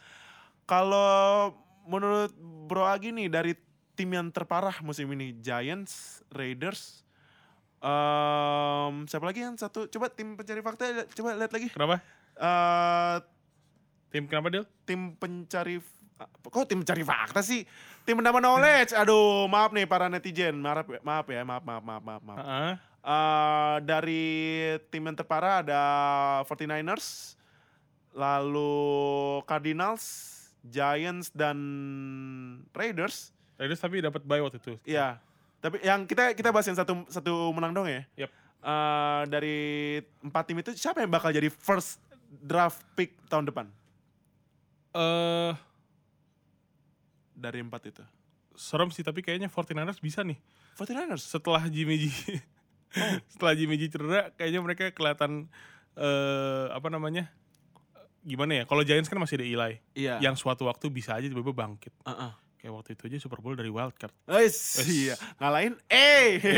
kalau menurut Bro Agi nih dari tim yang terparah musim ini Giants, Raiders, em, siapa lagi yang satu? Coba tim pencari fakta, li- coba lihat lagi.
kenapa
Eh,
tim kenapa Dil?
tim pencari f- kok tim pencari fakta sih? Tim penambah knowledge. Aduh, maaf nih para netizen. Maaf maaf ya, maaf maaf maaf maaf. maaf.
Ah,
Eh, dari tim yang terparah ada 49ers, lalu Cardinals, Giants dan Raiders.
Raiders tapi dapat bye waktu itu
Iya. Tapi yang kita kita bahas yang satu satu menang dong ya.
Yap.
Eh, dari empat tim itu siapa yang bakal jadi first draft pick tahun depan
eh
dari empat itu?
serem sih tapi kayaknya 49ers bisa nih
49ers.
setelah Jimmy G
Oh.
[LAUGHS] setelah Jimmy G cedera kayaknya mereka kelihatan eh apa namanya gimana ya kalau Giants kan masih ada Eli
Iya.
yang suatu waktu bisa aja tiba-tiba bangkit
Heeh.
kayak waktu itu aja Super Bowl dari wildcard
iya, ngalahin eh.
Iya,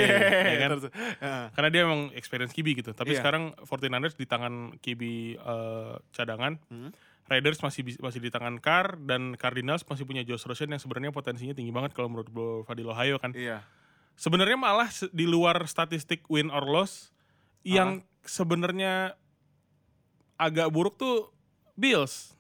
iya kan?
Terus, eh.
karena dia emang experience QB gitu tapi
Iya.
sekarang 49ers di tangan QB eh, cadangan
Hmm.
Raiders masih bis- masih di tangan Carr dan Cardinals masih punya Josh Rosen yang sebenarnya potensinya tinggi banget kalau menurut Bro Fadil Ohio kan
Iya.
sebenarnya malah se- di luar statistik win or loss yang sebenarnya agak buruk tuh Bills.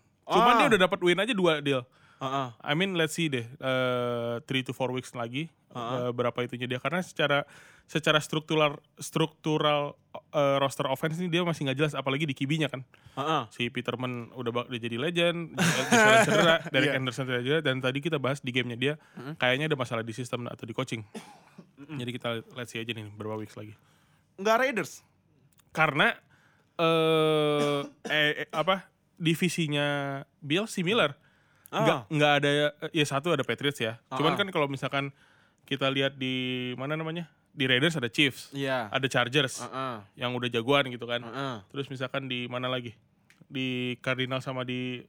Ah.
Cuman dia udah dapat win aja dua deal.
Heeh.
I mean let's see deh eh 3 to 4 weeks lagi eh, berapa itunya dia karena secara secara struktural struktural eh, roster offense ini dia masih nggak jelas apalagi di kibinya kan
Heeh.
si Peterman udah bak udah jadi legend,
[LAUGHS]
Gisela cedera, Derek
Iya.
Anderson cedera juga, dan tadi kita bahas di gamenya dia kayaknya ada masalah di sistem atau di coaching. jadi kita let's see aja nih berapa weeks lagi.
Enggak Raiders.
Karena eh, [LAUGHS] eh, eh, apa divisinya Bill similar. Nggak nggak ada ya satu ada Patriots ya. Cuman
Ah.
kan kalau misalkan kita lihat di mana namanya? Di Raiders ada Chiefs,
Iya.
ada Chargers
Heeh.
yang udah jagoan gitu kan.
Heeh.
Terus misalkan di mana lagi? Di Cardinal sama di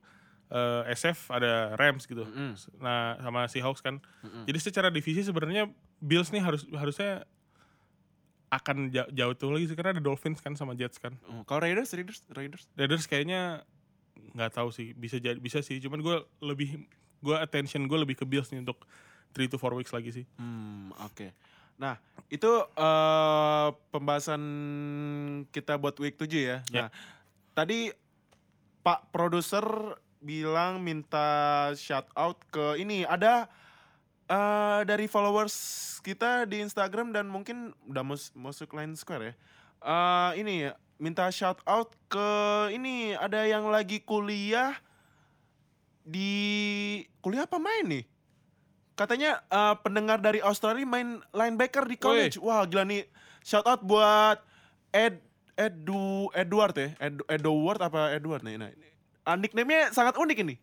eh, SF ada Rams gitu. Nah, sama Seahawks kan.
Gitu.
Jadi secara divisi sebenarnya Bills nih harus harusnya akan ja- jauh tuh lagi sih karena ada Dolphins kan sama Jets kan.
Oh, Kalau Raiders, Raiders, Raiders.
Raiders kayaknya nggak tahu sih bisa jadi bisa sih cuman gue lebih gue attention gue lebih ke Bills nih untuk 3 to 4 weeks lagi sih.
Hmm, oke. Nah, itu eh, pembahasan kita buat week 7 ya. Nah, tadi Pak produser bilang minta shout out ke ini ada eh, dari followers kita di Instagram dan mungkin udah mus- masuk Line Square ya. Eh, ini ya, minta shout out ke ini ada yang lagi kuliah di kuliah apa main nih? Katanya eh, pendengar dari Australia main linebacker di college. Wah, gila nih. Shout out buat Ed Edu Edward ya. Ed, Edward apa Edward nih? Nah, ini- ah, nickname-nya sangat unik ini.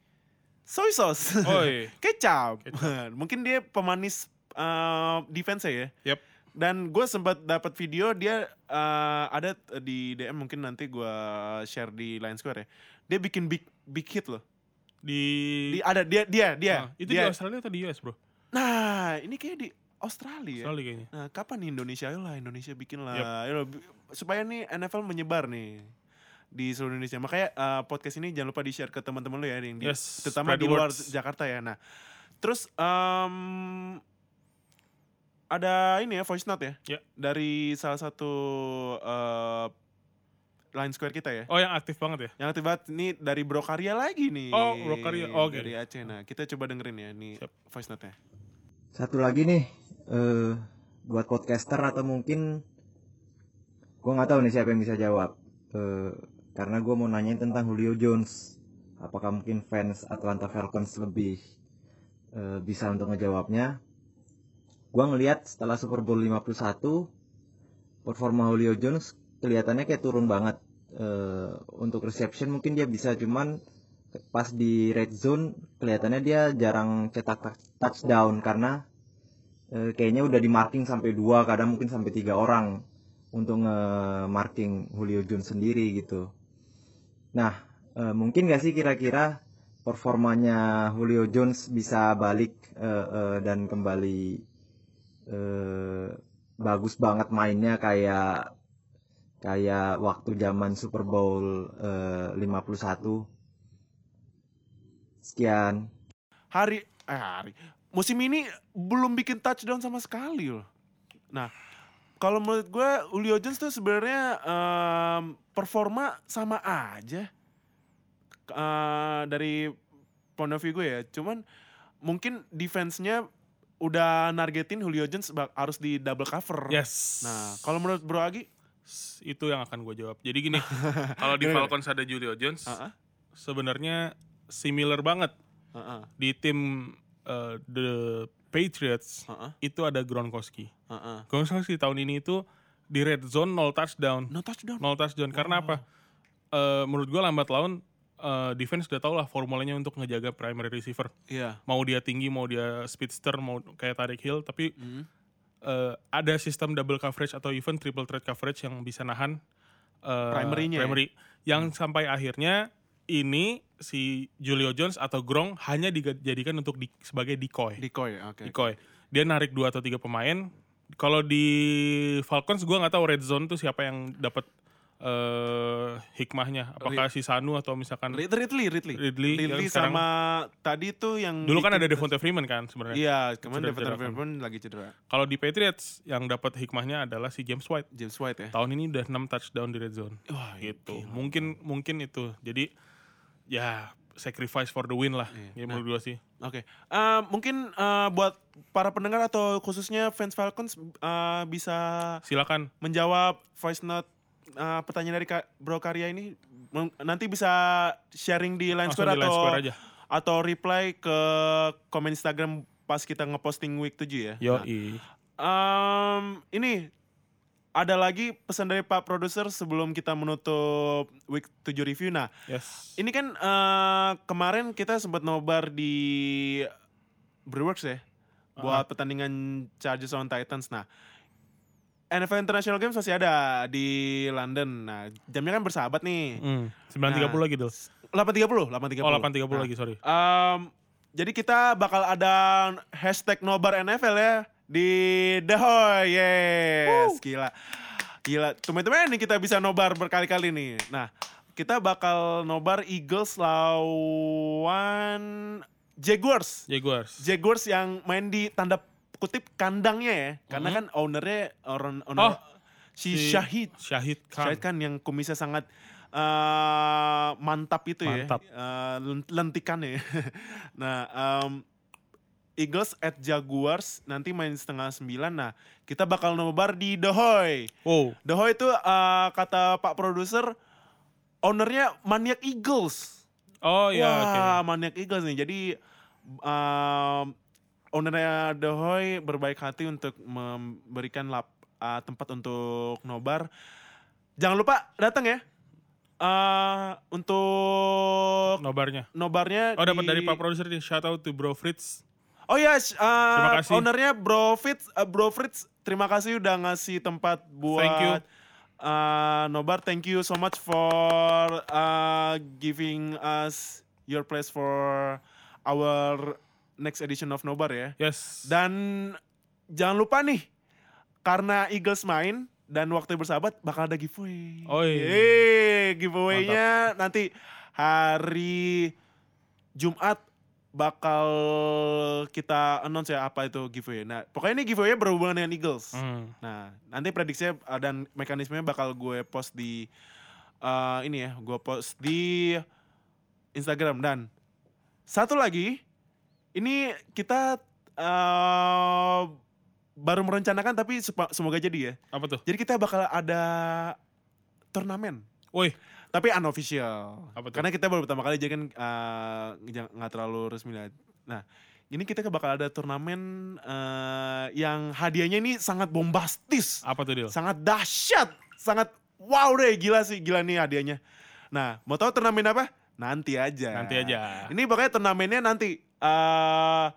Soy sauce.
Oi.
[LAUGHS] Kecap. [LAUGHS] Mungkin dia pemanis eh, defense ya.
Yep.
Dan gue sempat dapat video dia eh, ada t- di DM mungkin nanti gue share di Line Square ya. Dia bikin big big hit loh.
Di,
Di, iya. ada dia dia dia.
Ah, itu
dia.
di Australia atau di US, Bro?
Nah, ini kayak di Australia.
Australia kayaknya.
Nah, kapan nih Indonesia? Ayolah Indonesia bikin lah.
Yap.
Ayolah, bi- supaya nih NFL menyebar nih di seluruh Indonesia. Makanya eh, podcast ini jangan lupa di-share ke teman-teman lu ya yang di,
Yes,
terutama
spread
di
the
luar
words.
Jakarta ya. Nah, terus em, ada ini ya voice note ya
Ya.
dari salah satu eh, line square kita ya.
Oh yang aktif banget ya?
Yang tiba ini dari Brokaria lagi nih.
Oh, Brokaria. Oh, oke.
Dari Aceh. Nah, kita coba dengerin ya nih
Siap.
voice note-nya.
Satu lagi nih eh buat podcaster atau mungkin gue nggak tahu nih siapa yang bisa jawab Eh, karena gue mau nanyain tentang Julio Jones. Apakah mungkin fans Atlanta Falcons lebih eh, bisa untuk ngejawabnya? Gue ngelihat setelah Super Bowl 51 performa Julio Jones kelihatannya kayak turun banget. Eh, untuk reception mungkin dia bisa cuman pas di red zone kelihatannya dia jarang cetak ta- touchdown karena eh, kayaknya udah di marking sampai dua kadang mungkin sampai tiga orang untuk nge-marking Julio Jones sendiri gitu. Nah eh, mungkin nggak sih kira-kira performanya Julio Jones bisa balik eh, eh, dan kembali eh, bagus banget mainnya kayak kayak waktu zaman Super Bowl eh, 51 Sekian.
hari eh hari musim ini belum bikin touchdown sama sekali loh. Nah, kalau menurut gue Julio Jones tuh sebenarnya em, performa sama aja Eh, dari point of view gue ya. Cuman mungkin defense-nya udah nargetin Julio Jones bak- harus di double cover.
Yes.
Nah, kalau menurut Bro Agi,
S- itu yang akan gue jawab. Jadi
[LAUGHS]
gini, kalau di
Gimana?
Falcons ada Julio Jones,
Heeh.
sebenarnya similar banget
heeh,
di tim eh, the Patriots
heeh,
itu ada Gronkowski.
heeh.
Gronkowski tahun ini itu di red zone nol touchdown,
No touchdown.
nol touchdown. Karena apa? Eh, menurut gue lambat laun eh, defense udah tau lah formulanya untuk ngejaga primary receiver.
Iya.
Mau dia tinggi, mau dia speedster, mau kayak Tarik Hill, tapi
Mm.
eh, ada sistem double coverage atau even triple threat coverage yang bisa nahan eh,
Primary-nya ya?
primary. yang sampai akhirnya ini si Julio Jones atau Gronk hanya dijadikan untuk di- sebagai decoy.
Decoy, oke.
decoy. Dia narik dua atau tiga pemain. Kalau di Falcons gua nggak tahu red zone tuh siapa yang dapat eh, hikmahnya. Apakah si Sanu atau misalkan
Rid- Ridley, Ridley.
Ridley,
Ridley
yang sekarang-
sama tadi tuh yang
dulu kan
bikin-
ada Devonta Freeman kan sebenarnya.
Iya, kemarin
Cedera-
Devonta
cedera kan.
Freeman lagi cedera.
Kalau di Patriots yang dapat hikmahnya adalah si James White.
James White ya.
Tahun ini udah 6 touchdown di red zone.
Wah,
gitu. Mungkin mungkin itu. Jadi ya sacrifice for the win lah.
Iya.
Ya menurut gua sih.
Oke. Eh, mungkin eh, buat para pendengar atau khususnya fans Falcons eh, bisa
Silakan.
menjawab voice note eh, pertanyaan dari Ka- Bro Karya ini Mung- nanti bisa sharing di Line
Langsung
Square
di
atau
Line Square aja.
atau reply ke komen Instagram pas kita ngeposting week 7 ya.
Yo,
Nah, em, ini ada lagi pesan dari Pak Produser sebelum kita menutup week 7 review. Nah,
yes.
Ini kan eh, kemarin kita sempat nobar di Brewers ya buat pertandingan Chargers on Titans. Nah, NFL International Games masih ada di London. Nah, jamnya kan bersahabat nih.
Hmm, 9.30
Nah,
lagi tuh.
8.30, 8.30.
Oh, 8.30
Nah,
lagi, sorry.
em, jadi kita bakal ada hashtag nobar NFL ya di The Hoy. Yes, gila. Gila, teman-teman ini kita bisa nobar berkali-kali nih. Nah, kita bakal nobar Eagles lawan Jaguars.
Jaguars.
Jaguars yang main di tanda kutip kandangnya ya. Karena kan ownernya orang
Oh,
owner si,
si
Syahid.
Syahid Khan.
Syahid kan yang kumisnya sangat eh, mantap itu
Mantap.
ya. Eh, len- lentikan ya. [LAUGHS] nah, em, Eagles at Jaguars nanti main setengah sembilan. Nah, kita bakal nobar di The Hoy.
Oh,
The Hoy itu eh, kata Pak Produser, ownernya Maniac Eagles.
oh ya,
Wah,
oke.
Maniac Eagles nih. Jadi um, ownernya The Hoy berbaik hati untuk memberikan lap, uh, tempat untuk nobar. Jangan lupa datang ya. Eh, untuk
Nobarnya.
nobarnya
Oh, dapat
di-
dari Pak Produser nih. Shout out to Bro Fritz.
Oh ya, sh- uh,
Terima kasih.
ownernya Bro Fritz, uh, Bro Fritz, terima kasih udah ngasih tempat buat
Thank you.
uh, Nobar. Thank you so much for uh, giving us your place for our next edition of Nobar ya.
Yes.
Dan jangan lupa nih karena Eagles main dan waktu yang bersahabat bakal ada giveaway.
Oh, iya.
Yeay, giveaway-nya nanti hari Jumat bakal kita announce ya apa itu giveaway. Nah, pokoknya ini giveaway-nya berhubungan dengan Eagles.
Hmm.
Nah, nanti prediksinya uh, dan mekanismenya bakal gue post di uh, ini ya, gue post di Instagram dan satu lagi ini kita uh, baru merencanakan tapi sepa- semoga jadi ya.
Apa tuh?
Jadi kita bakal ada turnamen
Woi,
tapi unofficial.
Apa tuh?
Karena kita baru pertama kali jadi kan uh, nggak nggak terlalu resmi lah. Nah, ini kita bakal ada turnamen uh, yang hadiahnya ini sangat bombastis.
apa tuh deal?
Sangat dahsyat, sangat wow deh, gila sih, gila nih hadiahnya. Nah, mau tahu turnamen apa? Nanti aja.
Nanti aja.
Ini pokoknya turnamennya nanti eh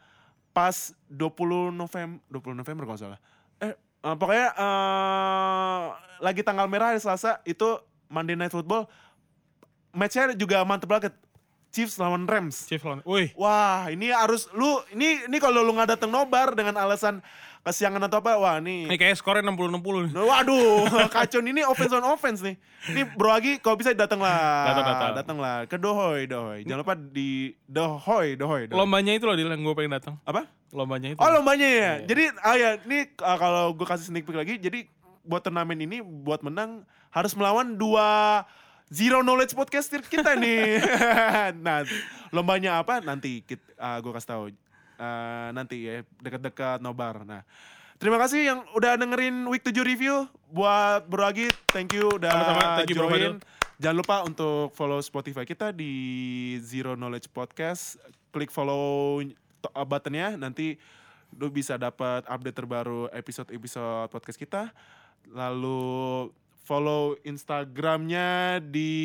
pas 20 November, 20 November kalau nggak salah. Eh, eh, pokoknya eh lagi tanggal merah hari Selasa itu Monday Night Football. Matchnya juga mantep banget. Chiefs lawan Rams.
Chief lawan. Woi,
Wah, ini harus lu ini ini kalau lu nggak datang nobar dengan alasan kesiangan atau apa, wah
ini kayaknya skornya 60-60 nih.
Nah, Waduh, [LAUGHS] kacun ini offense on offense nih. Ini Bro Agi, kalau bisa datang lah.
Datang, datang.
lah. Ke Dohoi, Dohoi. Jangan lupa di Dohoi, Dohoi. Dohoi.
Lombanya itu loh deal yang gue pengen datang.
Apa?
Lombanya Iya, itu.
Oh, lombanya ya. Jadi, ah ya, ini ah, kalau gue kasih sneak peek lagi, jadi buat turnamen ini, buat menang, harus melawan dua Zero Knowledge Podcaster kita nih. [LAUGHS] nah, lombanya apa? Nanti kita, gue kasih tahu. Ah, nanti ya, dekat-dekat nobar. Nah, Terima kasih yang udah dengerin Week 7 Review. Buat Bro Agi, thank you udah
Sama-sama, thank you, Bro
join. Jangan lupa untuk follow Spotify kita di Zero Knowledge Podcast. Klik follow to- uh, buttonnya, nanti lu bisa dapat update terbaru episode-episode podcast kita. Lalu follow Instagramnya di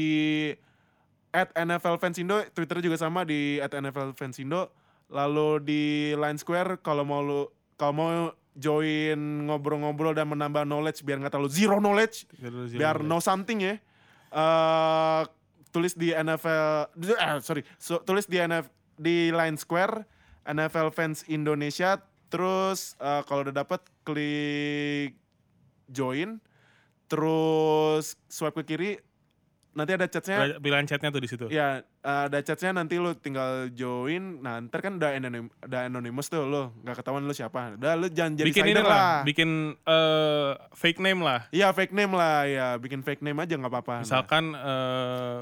at NFL Fans Indo, Twitter juga sama di at NFL Fans Indo. Lalu di Line Square kalau mau lu kalau mau join ngobrol-ngobrol dan menambah knowledge biar nggak terlalu zero knowledge, biar know something ya. Eh, tulis di NFL, eh, sorry, So, tulis di NF di Line Square NFL Fans Indonesia. Terus eh, kalau udah dapet klik join, terus swipe ke kiri, nanti ada chatnya.
Pilihan chatnya tuh di situ.
Ya, ada chatnya nanti lu tinggal join. Nah, ntar kan udah anonim, udah anonymous tuh lu, nggak ketahuan lu siapa. Udah lu jangan jadi
bikin ini
insider
lah,
lah.
bikin eh, fake name lah.
Iya, fake name lah ya, bikin fake name aja nggak apa-apa. Nah.
Misalkan eh,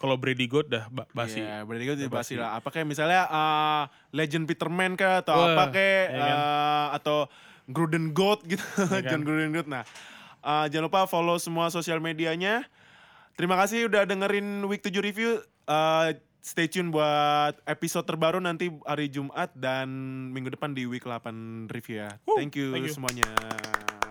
kalau Brady God dah ba- basi.
Iya, berarti gue basi lah. Apa kayak misalnya eh, Legend Peterman kah atau
Wah,
apa kayak
iya kan?
eh, atau Gruden God gitu,
Iya kan?
[LAUGHS] John Gruden God. Nah, eh, jangan lupa follow semua sosial medianya. Terima kasih udah dengerin Week 7 Review. Eh, stay tune buat episode terbaru nanti hari Jumat dan minggu depan di Week 8 Review ya.
Woo,
thank you
thank you.
semuanya.